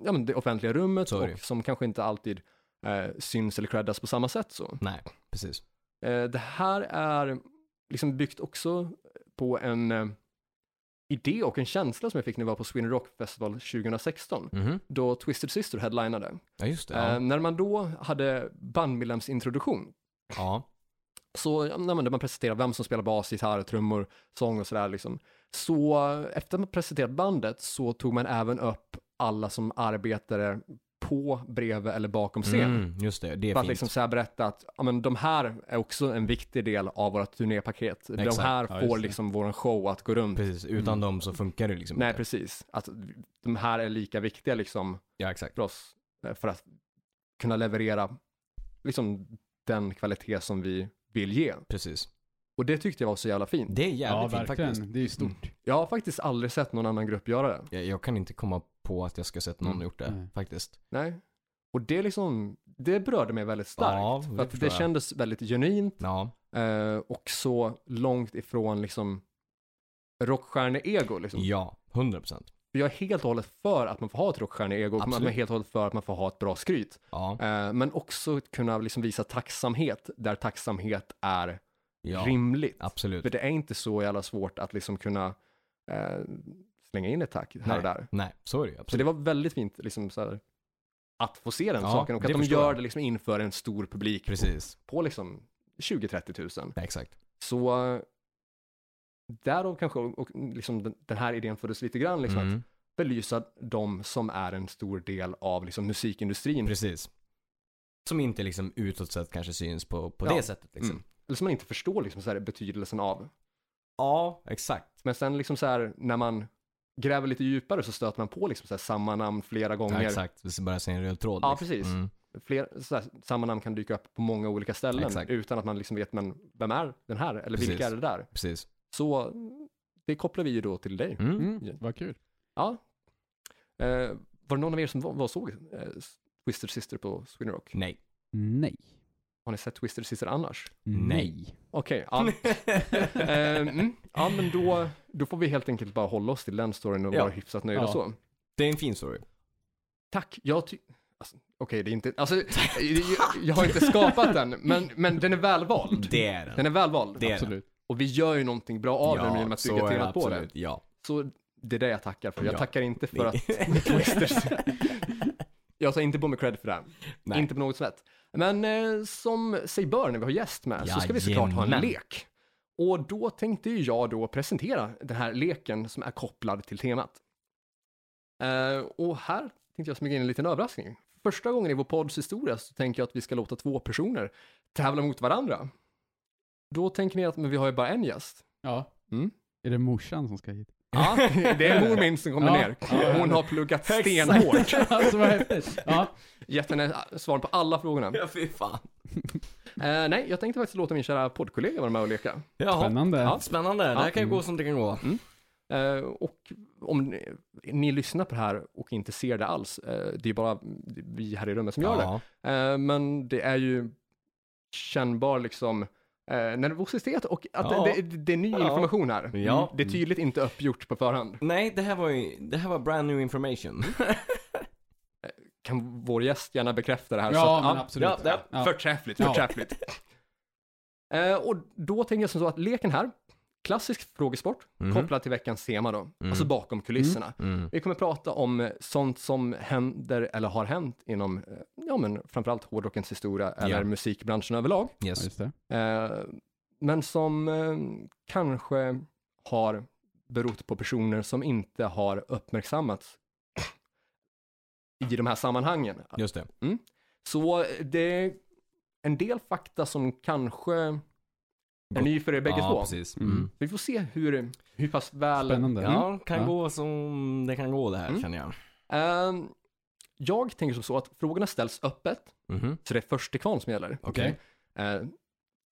A: ja, men det offentliga rummet
B: Så är det ju.
A: och som kanske inte alltid eh, syns eller creddas på samma sätt. Så.
B: Nej, precis.
A: Eh, det här är liksom byggt också på en eh, idé och en känsla som jag fick när jag var på Sweden Rock Festival 2016
B: Mhm.
A: då Twisted Sister headlinade.
B: Ja, just det. Ja.
A: Eh, när man då hade bandmedlemsintroduktion
B: ja.
A: så, ja, nej, men där man presenterar vem som spelar bas, gitarr, trummor, sång och sådär liksom. Så eh, efter att man presenterat bandet så tog man även upp alla som arbetade på, bredvid eller bakom scen.
B: Mm, just det, det är
A: För att
B: fint.
A: liksom så här berätta att ja, men de här är också en viktig del av vårt turnépaket.
B: Exakt.
A: De här
C: Ja, just
A: får
C: det.
A: liksom vår show att gå runt.
B: Precis, utan dem så funkar det liksom
A: Mm. Nej,
B: inte.
A: precis. Att de här är lika viktiga liksom
B: Ja, exakt.
A: för oss eh, för att kunna leverera liksom den kvalitet som vi vill ge.
B: Precis.
A: Och det tyckte jag var så jävla fint.
B: Det är
C: Ja
B: jävligt fint
C: verkligen.
B: faktiskt.
C: Det är ju stort.
A: Jag har faktiskt aldrig sett någon annan grupp göra det.
B: Jag, jag kan inte komma på att jag ska ha sett någon
A: Mm.
B: gjort det,
C: Nej.
B: faktiskt.
A: Nej. Och det liksom, det berörde mig väldigt starkt.
B: Ja,
A: för
B: det
A: att
B: förstår
A: det
B: jag.
A: kändes väldigt genuint
B: Ja,
A: eh, och så långt ifrån liksom rockstjärne-ego. Liksom.
B: ja, 100%.
A: För Jag är helt och hållet för att man får ha ett rockstjärne-ego och man
B: Absolut.
A: är helt och hållet för att man får ha ett bra skryt.
B: Ja,
A: Eh, men också att kunna liksom visa tacksamhet där tacksamhet är
B: ja.
A: rimligt.
B: Absolut.
A: För det är inte så jävla svårt att liksom kunna eh, slänga in ett tack här och där.
B: Nej, så är det ju,
A: Så det
B: absolut.
A: var väldigt fint liksom, så här, att få se den
B: Ja,
A: saken och att
B: det
A: de
B: förstår
A: gör
B: jag.
A: det liksom inför en stor publik på,
B: Precis,
A: på liksom 20-30 000.
B: ja, exakt.
A: Så eh, därav kanske och, och, liksom, den, den här idén föddes lite grann, liksom, att
B: Mm.
A: belysa de som är en stor del av liksom, musikindustrin.
B: Precis. Som inte liksom utåt sett kanske syns på, på
A: Ja.
B: det sättet liksom.
A: Mm. Eller som man inte förstår liksom, så här, betydelsen av.
B: Ja, exakt.
A: Men sen liksom, så här, när man gräver lite djupare så stöter man på liksom, så här, samma namn flera
B: Ja,
A: gånger.
B: exakt. Vi ska bara se en röd tråd.
A: Ja,
B: liksom.
A: precis.
B: Mm.
A: fler, så här, samma namn kan dyka upp på många olika ställen
B: Exakt.
A: utan att man liksom vet men vem är den här eller
B: Precis.
A: vilka är det där.
B: Precis.
A: Så mm, det kopplar vi ju då till dig.
B: Mm.
C: Mm. Vad kul.
A: Eh, var det någon av er som var, var och såg eh, Twister Sister på Sweden Rock?
B: Nej.
C: Nej.
A: Har ni sett Twister Sister annars?
B: Nej.
A: Okej, ja. eh, mm, ja men då, då får vi helt enkelt bara hålla oss till den storyn och
B: Ja.
A: vara hyfsat nöjda
C: Ja.
A: så.
B: Det är en fin story.
A: Tack, jag ty- alltså, Okej, det är inte, alltså, jag, jag har inte skapat den, men, men den är välvald.
B: Det är den.
A: Den är välvald.
B: Det är den.
C: Absolut.
A: Och vi gör ju någonting bra av den genom att
B: så
A: bygga
B: är
A: temat på det.
B: absolut. Ja.
A: Så det är det jag tackar för. Jag
B: Ja.
A: tackar inte för att
B: att...
A: jag tar inte på mig cred för det.
B: Nej.
A: Inte på något sätt. Men eh, som sig bör när vi har gäst med så ska vi såklart ha en
B: Jajamän.
A: lek. Och då tänkte ju jag då presentera den här leken som är kopplad till temat. Eh, och här tänkte jag smyga in en liten överraskning. Första gången i vår podds historia så tänker jag att vi ska låta två personer tävla mot varandra. Då tänker ni att men vi har ju bara en gäst.
C: Ja.
A: Mm.
C: Är det morsan som ska hit?
A: Ja, det är mor min som kommer
C: Ja.
A: ner.
C: Ja.
A: Hon har pluggat stenhårt.
C: alltså vad häftigt. Ja.
A: Gett henne svar på alla frågorna.
B: Ja, fy fan.
A: Eh, nej, jag tänkte faktiskt låta min kära poddkollega vara med och leka.
B: Jaha.
C: Spännande.
A: Ja.
B: Spännande. Det här kan ju
A: Mm.
B: gå som det kan gå.
A: Eh, och om ni, ni lyssnar på det här och inte ser det alls, eh, det är bara vi här i rummet som gör det. Eh, men det är ju kännbar liksom eh, nervositet och att
B: Ja.
A: det, det, det är ny
B: Ja.
A: information här.
B: Ja.
A: Det är tydligt inte uppgjort på förhand.
B: Nej, det här var ju, det här var brand new information.
A: Kan vår gäst gärna bekräfta det här? så
C: Ja,
A: att-
C: men absolut.
B: ja, det-
C: Ja.
A: Förträffligt,
C: Ja.
A: förträffligt. Eh, och då tänker jag som så att leken här, klassisk frågesport,
B: Mhm.
A: kopplad till veckans tema då, alltså bakom kulisserna.
B: Mm.
A: Vi kommer prata om eh, sånt som händer eller har hänt inom, eh, ja men framförallt hårdrockens historia eller
B: Ja.
A: musikbranschen överlag.
C: Ja,
B: Yes.
C: just det.
A: Eh, men som eh, kanske har berott på personer som inte har uppmärksammats i de här sammanhangen.
B: Just det.
A: Så eh, det är en del fakta som kanske är
B: Gott.
A: ny för er bägge
B: ja,
A: två.
B: precis.
C: Mm.
B: Mm.
A: Vi får se hur, hur pass väl...
C: Spännande. Mm.
B: Ja, kan
C: Ja.
B: gå som det kan gå det här
A: Mm.
B: känner jag.
A: Ehm, jag tänker som så att frågorna ställs öppet,
B: Mhm.
A: så det är först till kvarn som gäller.
B: Okej.
A: Eh,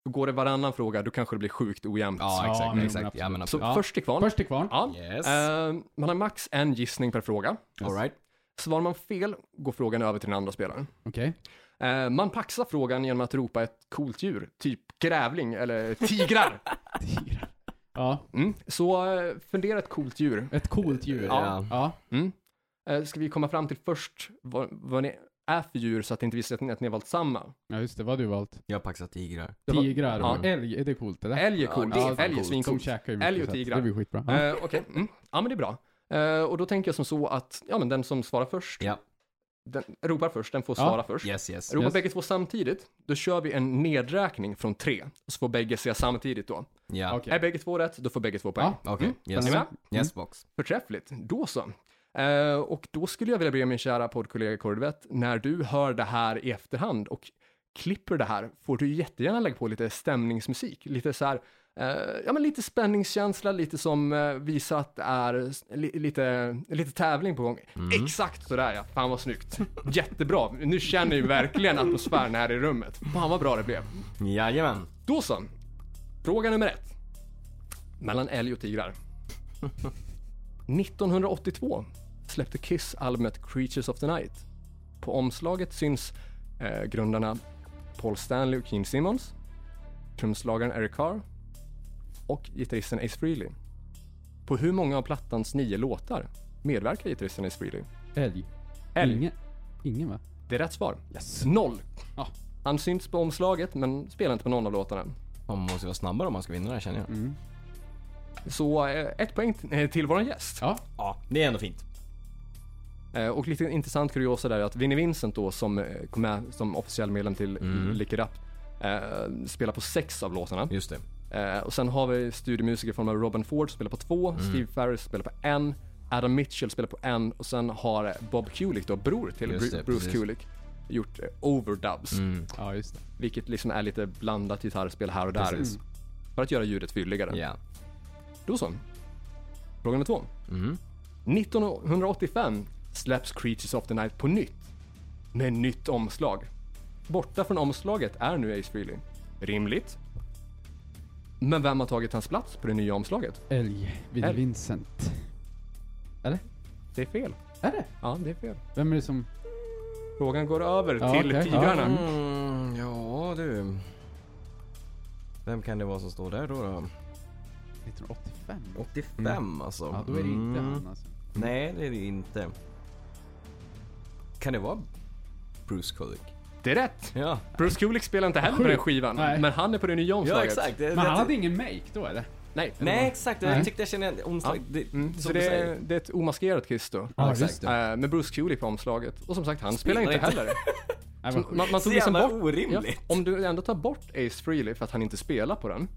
A: går det varannan fråga, då kanske det blir sjukt ojämnt.
B: Ja,
C: Ja,
B: exakt.
C: men
B: exakt.
C: absolut.
B: Ja, men
A: så
B: absolut.
C: ja.
A: först till kvarn.
C: Först till kvarn.
A: Ja.
B: Yes.
A: Eh, man har max en gissning per fråga.
B: All right.
A: Svarar man fel går frågan över till den andra spelaren.
C: Okej.
A: Eh, man paxar frågan genom att ropa ett coolt djur, typ grävling eller tigrar.
C: Tigrar. Ja,
A: Mm. Så eh, fundera ett coolt djur.
C: ett coolt djur.
B: Ja.
C: Ja.
A: Mm. Eh, ska vi komma fram till först vad, vad ni är för djur så att det inte visar att ni, att ni har valt samma?
C: ja, just det. Vad har du valt?
B: Jag paxar tigrar.
A: Det var-
C: Tigrar och
A: Ja.
C: älg. Är det coolt eller?
A: Älg är coolt,
C: Ja, det är
A: älg är
B: coolt.
C: De
A: svincoolt.
C: käkar ju
A: Älg
C: mycket
A: och
C: så att
A: tigrar.
C: Det blir skitbra. Ja.
A: Eh, Okej, mm. ja men det är bra. Eh, och då tänker jag som så att, ja men den som svarar först,
B: Ja.
A: den, ropar först, den får
C: Ja.
A: svara först.
B: Yes, yes.
A: Ropar
C: Yes.
A: bägge två samtidigt, då kör vi en nedräkning från tre. Och så får bägge säga samtidigt då.
B: Ja.
C: Okej.
A: Är bägge två rätt, då får bägge två poäng.
C: Ja.
B: Okej. Yes.
A: Är ni med?
B: Yes, box.
A: Förträffligt, då så. Eh, och då skulle jag vilja be min kära poddkollega Korvett, när du hör det här i efterhand och klipper det här, får du jättegärna lägga på lite stämningsmusik, lite så här, eh, ja men lite spänningskänsla, lite som eh, visar att det är s- li, lite, lite tävling på gång. Exakt sådär ja, fan vad snyggt. Jättebra, nu känner jag ju verkligen atmosfären här i rummet. Fan vad bra det blev.
B: Jajamän.
A: Då så. Fråga nummer ett. Mellan älg och tigrar. 1982 släppte Kiss albumet Creatures of the Night. På omslaget syns eh, grundarna Paul Stanley och Gene Simmons, trumslagaren Eric Carr och gitarristen Ace Frehley. På hur många av plattans nio låtar medverkar gitarristen Ace Frehley?
C: Älg.
A: Älg.
C: Ingen, ingen va?
A: Det är rätt svar.
C: Yes.
A: Noll.
C: Ja.
A: Han syns på omslaget men spelar inte på någon av låtarna.
B: Man måste vara snabbare om man ska vinna det här känner jag.
C: Mm.
A: Så eh, ett poäng t- eh, till våran gäst.
C: Ja.
B: Ja, det är ändå fint.
A: Eh, Och lite intressant kuriosa där är att Vinnie Vincent då som eh, kom med som officiell medlem till mm. Lick It Up eh, spelar på sex av låtarna.
B: Just det.
A: Eh, och sen har vi studiomusiker i form av Robin Ford som spelar på två,
B: Mm.
A: Steve Farris spelar på en, Adam Mitchell spelar på en och sen har eh, Bob Kulick då, bror till
B: Just
A: Bru-
B: det,
A: Bruce
B: precis. Mm.
A: Kulick, gjort eh, overdubs.
C: ja, just det.
A: Vilket liksom är lite blandat gitarrspel här och där.
B: Precis.
A: För att göra ljudet fylligare.
B: Ja.
A: Då så. Fråga nummer två.
B: Mm.
A: 1985 släpps Creatures of the Night på nytt. Med nytt omslag. Borta från omslaget är nu Ace Frehley. Rimligt. Men vem har tagit hans plats på det nya omslaget?
C: Älg. Vinnie
A: Älg.
C: Vincent. Eller?
A: Det är fel.
C: Är det?
A: Ja, det är fel.
C: Vem är det som...
A: Frågan går över
C: Ja,
A: till
C: okej.
A: tigrarna.
B: Mm, ja du. Vem kan det vara som står där då? då?
C: 1985?
B: 85 alltså.
C: Ja, då är det inte
B: Mm.
C: han alltså.
B: Nej, det är det inte. Kan det vara Bruce Kulick?
A: Det är rätt!
B: Ja,
A: Bruce Kulick spelar inte heller på
C: Sjukt.
A: den skivan,
C: Nej.
A: men han är på det nya omslaget.
B: ja exakt. Det,
C: Men
B: det-
C: han hade ingen make då eller?
A: Nej.
B: Nej, exakt.
C: Nej.
B: Jag tyckte jag kände igen omslag.
A: Ja.
B: Det,
A: Mm,
B: som
A: så
B: du
A: det är,
B: säger.
A: det är ett omaskerat Kiss då.
B: Ja,
C: Ja,
B: exakt.
C: just
B: Det.
A: Eh, med Bruce Kulick på omslaget. Och som sagt, han
B: Spelar
A: spelar inte
B: inte.
A: heller.
C: Nej,
A: Så
C: vad sjukt.
A: Man, man
B: Så
A: tog liksom
B: jävla
A: bort
B: orimligt.
A: Ja, om du ändå tar bort Ace Frehley för att han inte spelar på den.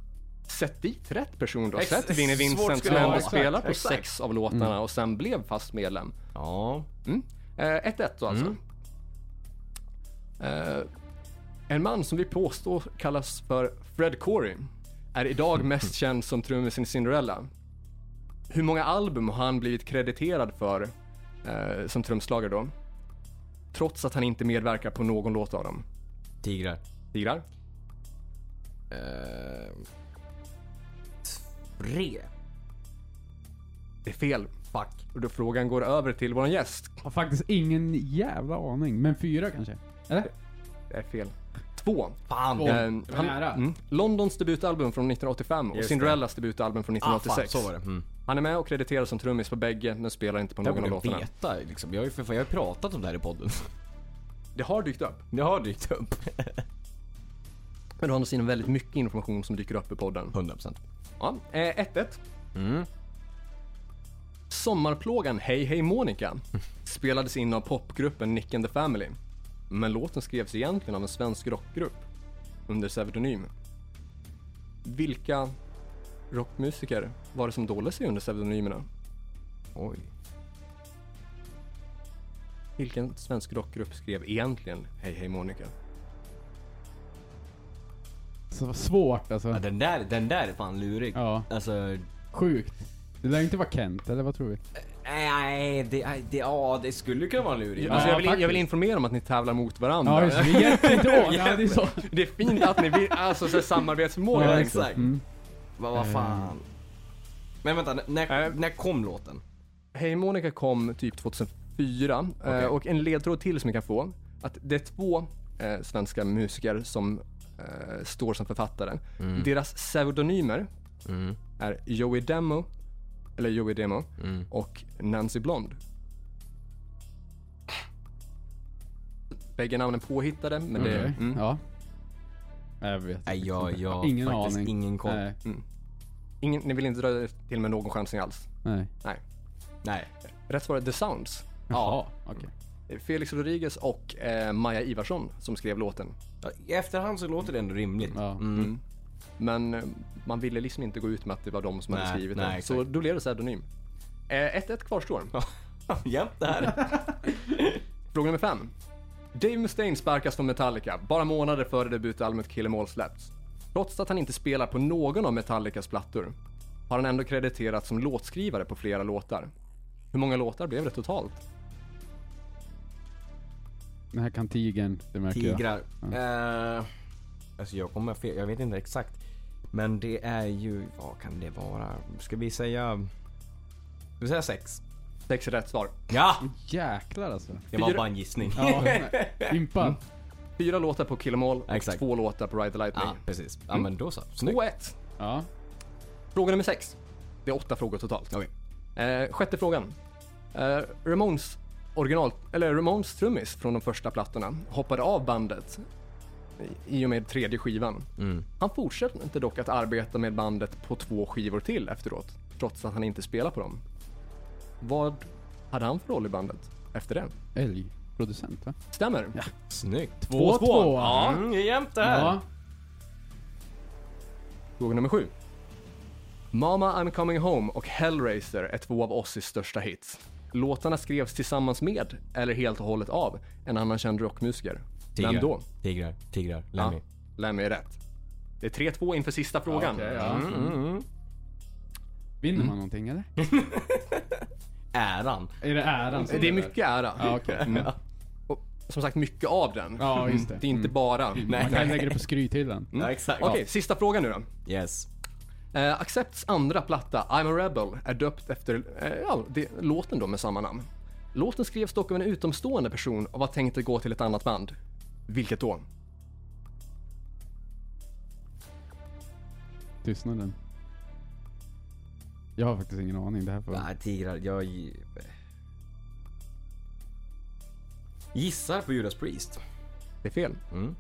A: Sätt dit rätt person då.
B: Ex-
A: Sätt Vinnie
B: svårt
A: Vincent
B: skulle
A: som
B: det
A: ändå
B: vara.
A: spelar på
B: Exakt.
A: sex av låtarna och sen blev fast medlem.
B: Ja.
A: Mm. Eh, 1-1 då alltså. Eh, en man som vi påstår kallas för Fred Corey är idag mest känd som trummisen i Cinderella. Hur många album har han blivit krediterad för eh, som trumslagare då? Trots att han inte medverkar på någon låt av dem.
B: Tigrar.
A: Tigrar?
B: Eh, tre.
A: Det är fel.
B: Fuck.
A: Och då frågan går över till våran gäst.
C: Har faktiskt ingen jävla aning. Men fyra kanske? Eller?
A: Det är fel. Två.
B: Fan.
C: Två.
B: Eh,
A: Ehm,
C: var nära.
A: Londons debutalbum från 1985 och
B: Just
A: Cinderellas debutalbum från
B: Ah, fan,
A: 1986.
B: så var det. Mm.
A: Han är med och krediteras som trummis på bägge, men spelar inte på
B: Jag
A: någon av
B: borde
A: låtarna.
B: veta liksom. Jag har ju för fan, jag har ju pratat om det här i podden.
A: Det har dykt upp.
B: Det har dykt upp.
A: Men å andra sidan väldigt mycket information som dyker upp i podden.
B: 100%.
A: Ja, eh, 1-1. Mm. Sommarplågan Hey Hey Monica spelades in av popgruppen Nick and the Family. Men låten skrevs egentligen av en svensk rockgrupp under pseudonym. Vilka rockmusiker var det som dolde sig under pseudonymerna?
B: Oj.
A: Vilken svensk rockgrupp skrev egentligen Hey Hey Monica?
C: Så vad svårt alltså.
B: Ja, den, där, den där är fan lurig.
C: Ja.
B: Alltså,
C: Sjukt. Det lär ju inte vara Kent, eller vad tror vi?
B: Nej, det, nej, det, ja, det skulle kunna vara en lurig.
A: alltså, jag, vill, jag vill
C: faktiskt.
A: informera om att ni tävlar mot varandra.
C: Ja, just det. Vi hjälper inte åt.
A: Jävlar.
C: Ja, det är så.
A: Det är fint att ni vill, alltså så här samarbetsmål. liksom.
B: Ja,
A: Ja,
B: exakt.
C: Mm.
B: Vad vad fan. Men vänta, n- när,
C: Eh.
B: när kom låten?
A: Hej Monica kom typ 2004
B: Okej.
A: eh, och en ledtråd till som ni kan få. Att det är två eh, svenska musiker som eh, står som författare.
C: Mm.
A: Deras pseudonymer
B: Mm.
A: är Joey Demo, eller Joey Demo
B: Mm.
A: och Nancy Blond. Bägge namnen påhittade, men det...
C: Okej.
A: Mm.
C: Ja. Jag vet.
B: Nej, jag, jag har
C: Ingen
B: faktiskt
C: aning.
B: ingen koll. Nej.
C: Nej.
A: Ingen, ni vill inte dra er till med någon chansning alls?
C: Nej.
A: Rätt svar är The Sounds.
C: Jaha, okej.
A: Felix Rodriguez och eh, Maja Ivarsson som skrev låten.
B: Ja, I efterhand så låter det ändå rimligt.
C: Ja.
B: Mm.
A: Men eh, man ville liksom inte gå ut med att det var de som
B: Nej,
A: hade skrivit den.
B: nej,
A: Så
B: exakt.
A: då blev det pseudonym. Eh, 1-1 kvarstår.
B: Jämt det här.
A: Fråga nummer 5. Dave Mustaine sparkas från Metallica bara månader före debutalbumet Kill 'Em All släpps. Trots att han inte spelar på någon av Metallicas plattor har han ändå krediterats som låtskrivare på flera låtar. Hur många låtar blev det totalt?
C: Den här kan tigern, det märker jag.
B: Tigrar. Eh, alltså jag kommer fel, jag vet inte exakt. Men det är ju, vad kan det vara? Ska vi säga... Ska vi säga sex?
A: Sex rätt svar.
B: Ja!
C: Jäklar alltså.
B: Det var
A: Fyra.
B: bara en gissning.
C: Ja, impad.
A: Fyra låtar på Kill 'Em All och
B: Exakt.
A: två låtar på Ride the Lightning.
B: Ja, precis. Ja men då så. Snyggt.
A: 2-1.
C: Ja.
A: Fråga nummer sex. Det är åtta frågor totalt.
B: Okej.
A: Eh, sjätte frågan. Eh, Ramones original, eller Ramones trummis från de första plattorna hoppade av bandet i och med tredje skivan.
B: Mm.
A: Han fortsatte inte dock att arbeta med bandet på två skivor till efteråt, trots att han inte spelar på dem. Vad hade han för roll i bandet efter det?
C: Älgproducent va?
A: Stämmer.
B: Snyggt.
C: Två, två.
B: Ja, det är jämnt det här.
C: Ja.
A: Fråga nummer sju. Mama I'm coming home och Hellraiser är två av Ossis största hits. Låtarna skrevs tillsammans med, eller helt och hållet av, en annan känd rockmusiker. Vem då?
B: Tigrar, tigrar, Lemmy.
A: Lemmy är rätt. Det är 3-2 inför sista frågan.
C: Okej, ja. Vinner man någonting eller?
B: Äran.
C: Är det äran som
A: Det är
C: gäller?
A: mycket ära.
C: Ja, okej.
A: Mm. Och, som sagt, mycket av den. Mm.
C: Ja, just det. Mm.
A: Det är inte bara.
C: Man kan lägga det på skrythyllan.
B: Ja, exakt.
A: Okej, sista frågan nu då.
B: Yes.
A: Eh, Accepts andra platta, I'm a Rebel, är döpt efter eh, ja, det, låten då med samma namn. Låten skrevs dock av en utomstående person och var tänkt att gå till ett annat band. Vilket då?
C: Tystnaden. Jag har faktiskt ingen aning. Det här får...
B: Nej, tigrar. Jag... Gissar på Judas Priest.
A: Det är fel.
B: Mm.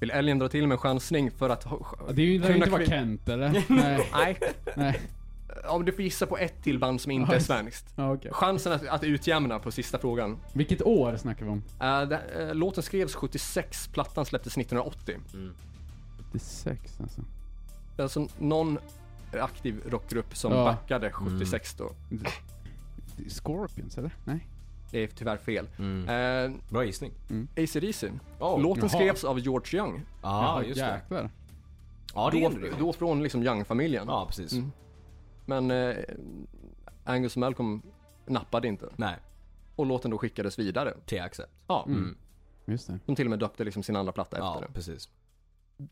A: Vill Elgen dra till med en chansning för att... ha-
C: Ja, Det är ju det lär ju
A: kunna
C: inte vara
A: kvin-
C: Kent eller? Nej.
A: Nej,
C: Nej.
A: ja, men du får gissa på ett till band som inte är svenskt.
C: Ja, okej.
A: Chansen att, att utjämna på sista frågan.
C: Vilket år snackar vi om?
A: Eh, det, eh, låten skrevs 76, plattan släpptes 1980.
C: 76 alltså.
A: Det är alltså någon aktiv rockgrupp som
C: Ja. Mm.
A: backade 76 då.
C: Det är Scorpions eller? Nej.
A: Det är tyvärr fel.
C: Mm.
A: Eh,
B: Bra gissning.
A: AC DC.
B: Oh.
A: Låten
C: Jaha.
A: skrevs av George Young.
B: Ja, just det.
C: Jäklar.
B: Ja, det
A: Då,
B: är det.
A: då från liksom Young-familjen.
B: Ja, precis.
A: Men eh, Angus Malcolm nappade inte.
B: Nej,
A: Och låten då skickades vidare.
B: till Accept.
A: Ja.
C: Just det.
A: De till och med döpte liksom sin andra platta
B: Ja,
A: efter det.
B: precis.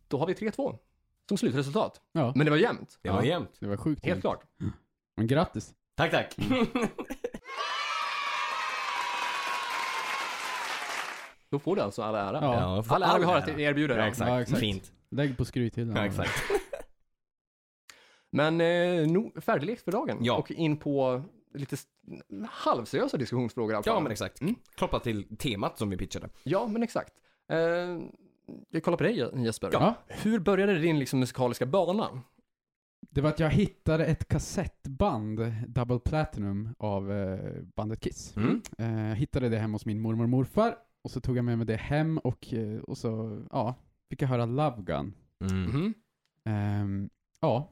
A: Då har vi 3-2 som slutresultat.
C: Ja.
A: Men det var jämnt.
B: Det var
C: Ja.
B: jämnt.
C: Det var sjukt.
A: Helt
C: roligt.
A: klart.
C: Men grattis.
B: Tack, tack.
C: Mm.
A: Då får du alltså all ära.
C: Ja.
B: för
A: All ära vi har
B: all
A: att
B: ära.
A: erbjuda.
B: Ja,
A: dig.
B: exakt.
C: Ja, exakt.
B: Fint.
C: Lägg på skrythyllan.
B: Ja, exakt.
A: Men eh, nog färdiglekt för dagen.
B: Ja.
A: Och in på lite s- halvseriösa diskussionsfrågor. i alla
B: Ja,
A: fall.
B: men exakt.
A: Mm.
B: Kopplat till temat som vi pitchade.
A: Ja, men exakt. Eh, jag kollar på dig Jesper.
C: Ja.
A: Hur började din liksom, musikaliska bana?
C: Det var att jag hittade ett kassettband, Double Platinum, av eh, bandet Kiss.
B: Mm.
C: Eh, hittade det hemma hos min mormor och morfar och så tog jag med mig det hem och, eh, och så, ja, fick jag höra Love Gun.
B: Mm.
A: Mhm.
C: Ehm, ja,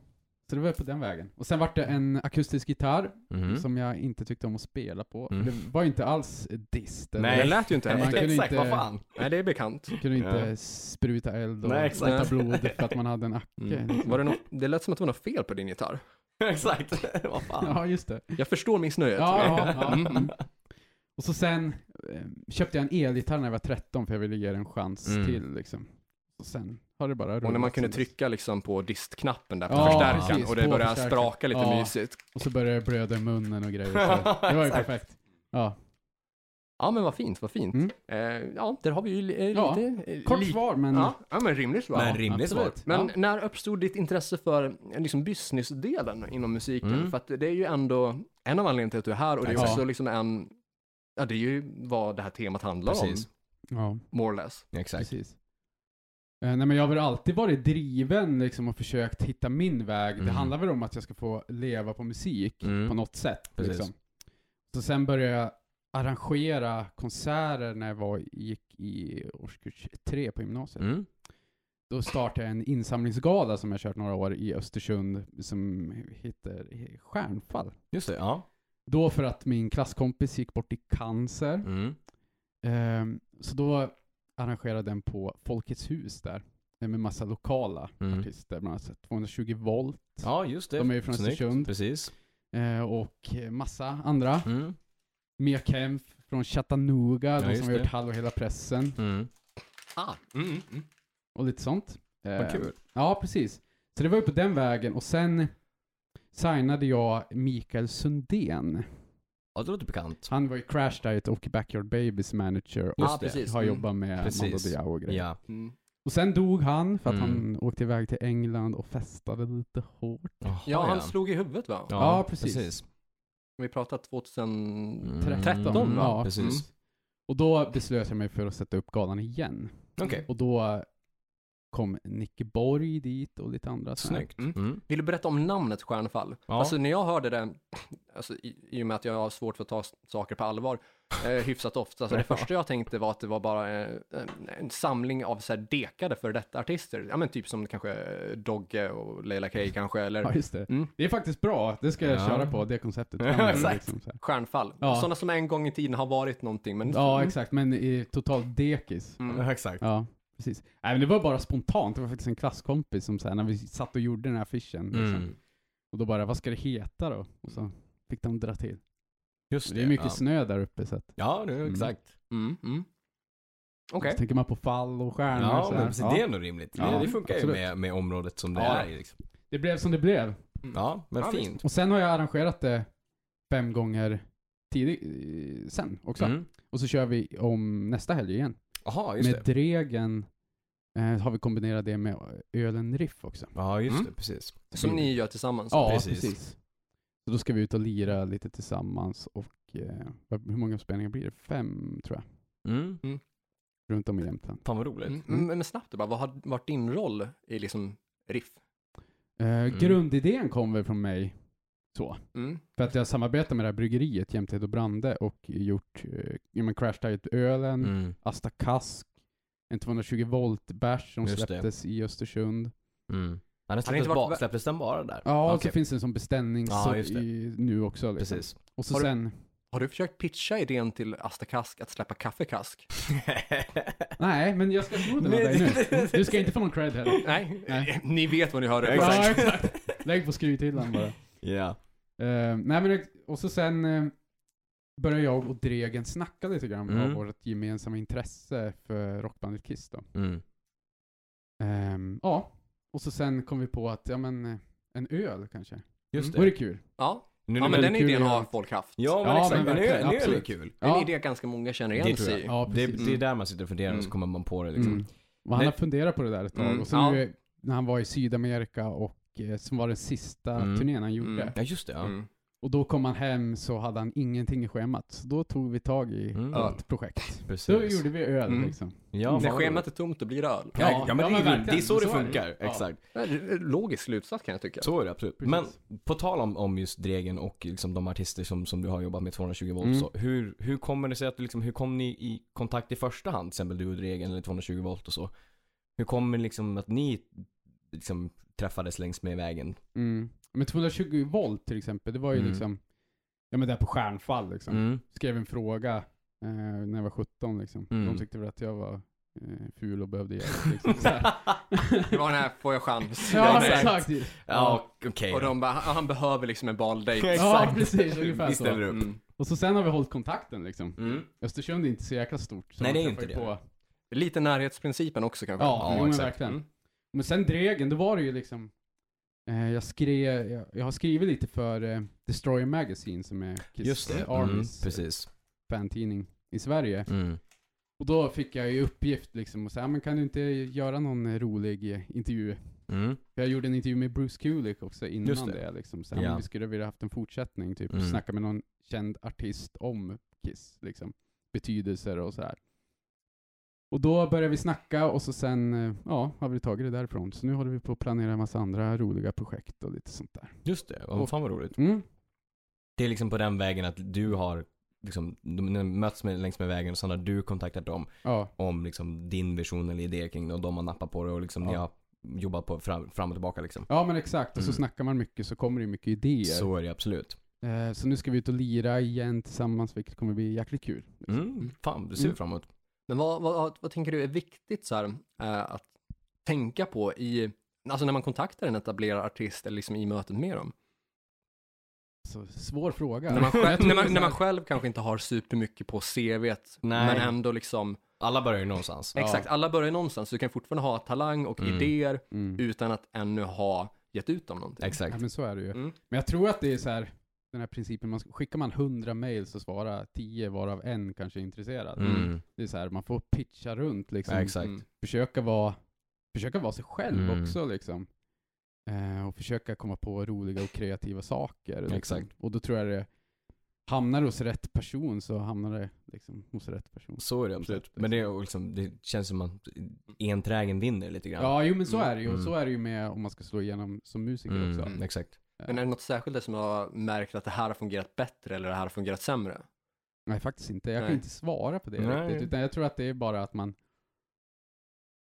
C: så det var på den vägen. Och sen vart det en akustisk gitarr
B: Mm.
C: som jag inte tyckte om att spela på.
B: Mm.
C: Det var ju inte alls dist. eller-
A: Det
B: Nej.
A: lät ju inte
C: Man
A: häftigt.
C: kunde
B: Exakt,
C: inte-
B: vad fan.
A: Nej, det är bekant.
C: Kunde inte
B: Ja.
C: spruta eld och
B: Nej, exakt.
C: spruta blod för att man hade en acke.
A: Mm. Var det, något, det lät som att det var något fel på din gitarr.
B: Exakt. Vad fan.
C: Ja, just det.
A: Jag förstår missnöjet.
C: Ja, ja, ja.
A: Mm.
C: Och så sen eh, köpte jag en elgitarr när jag var 13 för jag ville ge den en chans
B: Mm.
C: till liksom. Och sen har det bara rullat.
A: Och när man kunde
C: sen dess.
A: trycka liksom på distknappen där på
C: Ja,
A: förstärkaren
C: precis,
A: och det
C: på
A: började
C: förstärkaren.
A: spraka lite
C: Ja.
A: mysigt.
C: Och så började det blöda i munnen och grejer. Så det var ju
B: Exakt.
C: perfekt. Ja.
A: Ja men vad fint, vad fint.
C: Mm.
A: Eh, ja, där har vi ju li- eh,
C: Ja,
A: lite... eh,
C: Kort
A: li-
C: svar men...
A: Ja, ja men rimligt svar.
B: Men rimligt svar.
C: absolut.
A: Men
C: Ja.
A: när uppstod ditt intresse för eh, liksom businessdelen inom musiken?
B: Mm.
A: För att det är ju ändå en av anledningarna till att du är här och det är
C: Ja.
A: också liksom en, ja det är ju vad det här temat handlar
B: Precis.
A: om,
C: ja.
A: more or less.
B: Exakt.
C: Precis. Eh, nej men jag har väl alltid varit driven liksom och försökt hitta min väg. Det
B: Mm.
C: handlar väl om att jag ska få leva på musik
B: Mm.
C: på något sätt.
B: Precis.
C: Liksom. Så sen började jag arrangera konserter när jag var, gick i årskurs tre på gymnasiet.
B: Mm.
C: Då startade jag en insamlingsgala som jag kört några år i Östersund som heter Stjärnfall.
B: Just det, ja.
C: Då för att min klasskompis gick bort i cancer.
B: Mm.
C: Ehm, så då arrangerade den på Folkets hus där. eh, Med massa lokala
B: Mm.
C: artister, bland annat 220 volt
B: Ja, just det.
C: De är ju från
B: Snyggt.
C: Östersund.
B: Precis.
C: eh, och eh, massa andra.
B: Mm.
C: Mia Kempf från Chattanooga,
B: Ja,
C: de
B: just
C: som har
B: det.
C: gjort Hallå hela pressen
B: Mm.
A: Ah, mm, mm, mm.
C: och lite sånt. Ehm,
B: Vad kul.
C: Ja, precis. Så det var ju på den vägen och sen signade jag Mikael Sundén.
B: Ja, det låter bekant.
C: Han var ju Crash Diet och Backyard Babies manager och
B: Just
A: ah,
B: det.
A: precis.
C: har
A: Mm,
C: jobbat med Mando
B: Precis.
C: Diao och grejer.
B: Ja.
A: Mm.
C: Och sen dog han för att
B: Mm.
C: han åkte iväg till England och festade lite hårt.
B: Jaha,
A: Ja, han slog i huvudet va?
C: Ja, precis.
A: Vi pratar 2000...
B: Mm.
A: 13, va?
C: ja,
B: Precis.
C: precis. Och då beslöt jag mig för att sätta upp galan igen.
B: Okej.
C: Mm. Och då kom Nicke Borg dit och lite andra. såna här.
B: Snyggt.
A: Mm.
B: Mm.
A: Vill du berätta om namnet Stjärnfall?
B: Ja.
A: Alltså när jag hörde det, alltså, i, i och med att jag har svårt för att ta s- saker på allvar eh, hyfsat ofta, så det
B: Ja.
A: första jag tänkte var att det var bara eh, en- en samling av så här dekade för detta artister. Ja men typ som kanske eh, Dogge och Leila Kay kanske,
C: Ja,
A: eller
C: just det.
A: Mm.
C: Det är faktiskt bra. Det ska jag
B: Ja.
C: köra på, det konceptet.
B: Ja,
C: framåt,
B: exakt.
C: liksom så här.
A: Stjärnfall.
C: Ja.
A: Sådana som en gång i tiden har varit någonting, men...
C: Ja, exakt. Men i total dekis.
A: Mm.
B: exakt.
C: Ja, precis. Nej, men det var bara spontant. Det var faktiskt en klasskompis som så här, när vi satt och gjorde den här affischen. Liksom.
B: Mm.
C: Och då bara, vad ska det heta då? Och så fick de dra till.
B: Just det.
C: Det är mycket
B: ja.
C: snö där uppe så att
B: Ja, det är
C: Mm.
B: exakt.
A: Mm, mm. Okej.
C: Så tänker man på fall och stjärnor
B: Ja,
C: så
B: men
C: här.
B: precis,
C: Mm. Ja.
B: det är nog rimligt.
C: Ja,
B: det, det funkar
C: absolut.
B: ju med, med området som det
A: Ja.
B: är. i, Liksom.
C: Det blev som det blev.
B: Ja, men
A: Ja, visst.
B: fint.
C: Och sen har jag arrangerat det fem gånger tidig, eh, sen också.
B: Mm.
C: Och så kör vi om nästa helg igen.
B: Jaha, just
C: Med
B: det.
C: Dregen eh, har vi kombinerat det med ölen Riff också.
B: Ja, just
A: Mm.
B: det. Precis.
A: Som ni gör tillsammans.
C: Ja,
B: precis.
C: precis. Så då ska vi ut och lira lite tillsammans och eh, vad- hur många spelningar blir det? Fem tror jag.
B: Mm.
C: Runt om i Jämtland.
B: Fan vad roligt.
A: Mm. Men, men snabbt bara, vad har varit din roll i liksom riff?
C: Eh,
B: Mm.
C: Grundidén kom väl från mig så.
A: Mm.
C: För att jag samarbetar med det här bryggeriet, Jämthed och Brande, och gjort eh, ja, men Crash Diet-ölen,
B: Mm.
C: Asta Kask, en 220 volt bärs som
B: Just det.
C: släpptes i Östersund.
B: Mm. Han
A: Har det
B: släpptes,
A: inte varit-
B: bara, släpptes den bara där?
C: Ja, och
B: Okej,
C: så finns det en sån beställning
B: Ja,
C: så-
B: just det.
C: i, nu också. Liksom.
B: Precis.
C: Och så
A: Har du-
C: sen,
A: Har du försökt pitcha idén till Asta Kask att släppa kaffekask?
C: nej men jag ska sno den av dig nu. Du ska inte få någon cred heller.
A: Nej,
C: Nej.
A: ni vet vad ni hörde.
C: Ja, exakt. Lägg på skrythyllan bara.
B: Ja.
C: Eh, nej men, ex- och så sen eh, började jag och Dregen snacka lite grann om
B: Mm.
C: vårt gemensamma intresse för rockbandet Kiss då.
B: Mm.
C: Ehm, ja, och så sen kom vi på att, ja men, eh, en öl kanske.
B: Just
C: Vore
B: det.
C: kul.
A: Ja,
B: Nu,
A: ja men den
C: kul
A: idén
C: att
A: har
C: göra.
A: folk haft.
B: ja, men
C: Mm. Ja,
B: exakt.
C: men
B: Men nu,
C: verkligen,
B: nu är det
C: absolut.
B: kul.
A: En
C: Ja.
A: idé ganska många känner
B: Det
A: igen
B: tror
A: sig
B: jag.
A: i.
C: Ja,
B: det,
C: precis.
B: det är där man sitter och funderar och så
A: Mm.
B: kommer man på det liksom.
C: Mm. Och han
B: Nej.
C: har funderat på det där ett tag.
A: Mm,
C: Och sen
A: ja.
C: nu, när han var i Sydamerika och eh, som var den sista
B: Mm.
C: turnén han gjorde.
A: Mm.
B: Ja, just det. Ja.
A: Mm.
C: Och då kom han hem så hade han ingenting i schemat. Så då tog vi tag i
B: Mm.
C: vårt projekt.
B: Precis.
C: Så gjorde vi öl
A: Mm.
C: liksom.
B: Ja,
C: Mm.
B: fan
A: När
B: vad
A: schemat är tomt, då blir det öl.
B: Ja,
C: Ja,
B: ja, men,
C: ja,
B: det, är, ju-
C: men
B: det är
C: verkligen.
B: så det
C: Så är det.
B: funkar.
C: Ja.
B: Exakt.
A: Det är en Logisk slutsats kan jag tycka.
B: Så är det absolut.
C: Precis.
B: Men på tal om, om just Dregen och liksom de artister som, som du har jobbat med 220 volt
C: Mm.
B: så. Hur, hur kommer det sig att du liksom, hur kom ni i kontakt i första hand? Till exempel du och Dregen eller 220 volt och så. Hur kommer det liksom att ni liksom träffades längs med vägen?
C: Mm. Men 220 volt till exempel, det var ju
B: Mm.
C: liksom, ja men där på Stjärnfall liksom.
B: Mm.
C: Skrev en fråga eh, när jag var 17 liksom.
B: Mm.
C: De tyckte väl att jag var eh, ful och behövde hjälp. Liksom. Så här.
A: Det var den här, får jag chans?
C: ja,
A: Den är-
C: exakt.
B: Ja, okej.
A: Och de bara, han han behöver liksom en baldejt.
C: Ja,
B: Exakt.
C: precis. Ungefär
B: Vi
C: så.
B: ställer upp.
A: Mm.
C: Och så sen har vi hållit kontakten liksom.
B: Mm.
C: Östersund är inte så jäkla stort. Så
B: Nej,
C: man
B: det är
C: träffar
B: inte
C: ju
B: det.
C: På...
A: Lite närhetsprincipen också kanske.
C: Ja,
B: Ja,
C: jo, men
B: exakt.
C: verkligen.
A: Mm.
C: Men sen Dregen, då var det ju liksom eh, jag, skrev, jag, jag har skrivit lite för eh, Destroyer Magazine som är Kiss
B: Just det.
C: eh,
B: Mm,
C: Armys eh,
B: precis.
C: fantidning i Sverige.
B: Mm.
C: Och då fick jag ju uppgift liksom och säga, men kan du inte göra någon eh, rolig eh, intervju?
B: Mm.
C: För jag gjorde en intervju med Bruce Kulick också
B: Just
C: innan
B: det.
C: det. liksom. Så här,
B: Ja.
C: men vi skulle vilja haft en fortsättning, typ
B: Mm.
C: snacka med någon känd artist om Kiss, liksom betydelser och så här. Och då började vi snacka och så sen, eh, ja, har vi tagit det därifrån. Så nu håller vi på att planera en massa andra roliga projekt och lite sånt där.
B: Just det. Oh, fan vad roligt.
C: Mm.
B: Det är liksom på den vägen att du har liksom, de de möts med, längs med vägen och sen har du kontaktat dem
C: Ja,
B: om liksom din vision eller idé kring det och de har nappat på det och liksom
C: Ja.
B: ni har jobbat på fram, fram och tillbaka liksom.
C: ja men exakt. Och så
B: Mm.
C: snackar man mycket så kommer det ju mycket idéer. Så.
B: Så är det absolut.
C: Eh, så nu ska vi ut och lira igen tillsammans, vilket kommer bli jäkligt kul.
B: Mm, fan, det ser vi
C: Mm.
B: fram emot.
A: Men vad, vad, vad tänker du är viktigt så här, eh, att tänka på i, alltså när man kontaktar en etablerad artist eller liksom i mötet med dem?
C: Så svår fråga.
A: När man,
C: Jag
A: själv,
C: tror
A: när,
C: det är
A: man,
C: så
A: när man
C: här-
A: själv kanske inte har supermycket på CVt,
B: Nej.
A: men ändå liksom,
B: Alla börjar ju någonstans.
C: Ja.
A: exakt, alla börjar någonstans, så du kan fortfarande ha talang och
B: Mm.
A: idéer
C: Mm.
A: utan att ännu ha gett ut dem någonting.
B: Exakt.
C: Ja, men så är det ju.
A: Mm.
C: Men jag tror att det är så här, den här principen, man, skickar man 100 mail så svarar 10 varav en kanske är intresserad.
B: Mm.
C: Det är så här, man får pitcha runt liksom.
B: Ja, exakt.
A: Mm.
C: Försöka vara, försöka vara sig själv
B: Mm.
C: också liksom. Eh, och försöka komma på roliga och kreativa saker. Liksom.
B: Exakt.
C: Och då tror jag det, hamnar det hos rätt person så hamnar det liksom hos rätt person.
B: Så är det absolut. Men det, är liksom, det känns som att enträgen vinner lite grann.
C: Ja, jo men så
A: Mm.
C: är det ju. Och så
B: Mm.
C: är det ju med om man ska slå igenom som musiker
B: mm,
C: också.
B: Exakt.
A: Men är det något särskilt där som har märkt att det här har fungerat bättre eller det här har fungerat sämre?
C: Nej, faktiskt inte. Jag kan
A: Nej.
C: inte svara på det
B: Nej.
C: riktigt. Utan jag tror att det är bara att man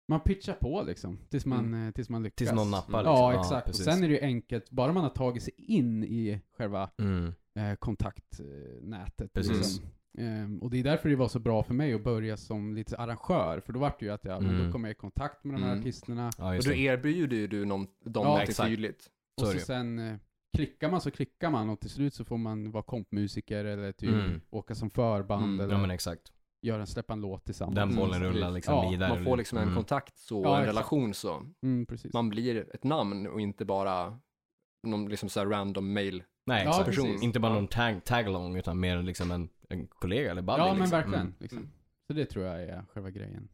C: man pitchar på liksom, tills man, eh, tills man lyckas.
B: Tills någon nappar
A: Mm.
B: liksom.
C: Ja, exakt. och
B: precis.
C: sen är det ju enkelt, bara man har tagit sig in i själva
B: Mm.
C: eh, kontaktnätet.
B: Precis.
C: Liksom. Ehm, och det är därför det var så bra för mig att börja som lite arrangör, för då var det ju att jag, men
B: Mm.
C: då kom jag i kontakt med de här
A: Mm.
C: artisterna,
B: Ja,
A: Och
B: just
A: då
B: det.
A: erbjuder ju du någon, dem
C: Ja,
A: någonting
B: exakt.
A: tydligt.
B: Så är
C: och så
B: det ju.
C: sen eh, klickar man så klickar man och till slut så får man vara kompmusiker eller typ
B: Mm.
C: åka som förband
A: Mm.
C: eller
B: Ja men exakt.
C: göra en, släppa en låt tillsammans.
B: Den
A: Mm,
B: bollen rullar
A: precis.
B: liksom
C: Ja,
B: vidare.
A: Man får liksom en
B: Mm.
A: kontakt så,
C: Ja,
A: en
C: exakt.
A: relation så.
C: Mm, precis.
A: Man blir ett namn och inte bara någon liksom så här random mail.
B: Nej,
C: Ja,
B: exakt.
A: person.
C: precis.
B: Inte bara någon tag, tag-along utan mer liksom en, en kollega eller buddy.
C: ja,
B: liksom.
C: men verkligen.
B: Mm.
C: Liksom.
A: Mm.
C: Så det tror jag är själva grejen.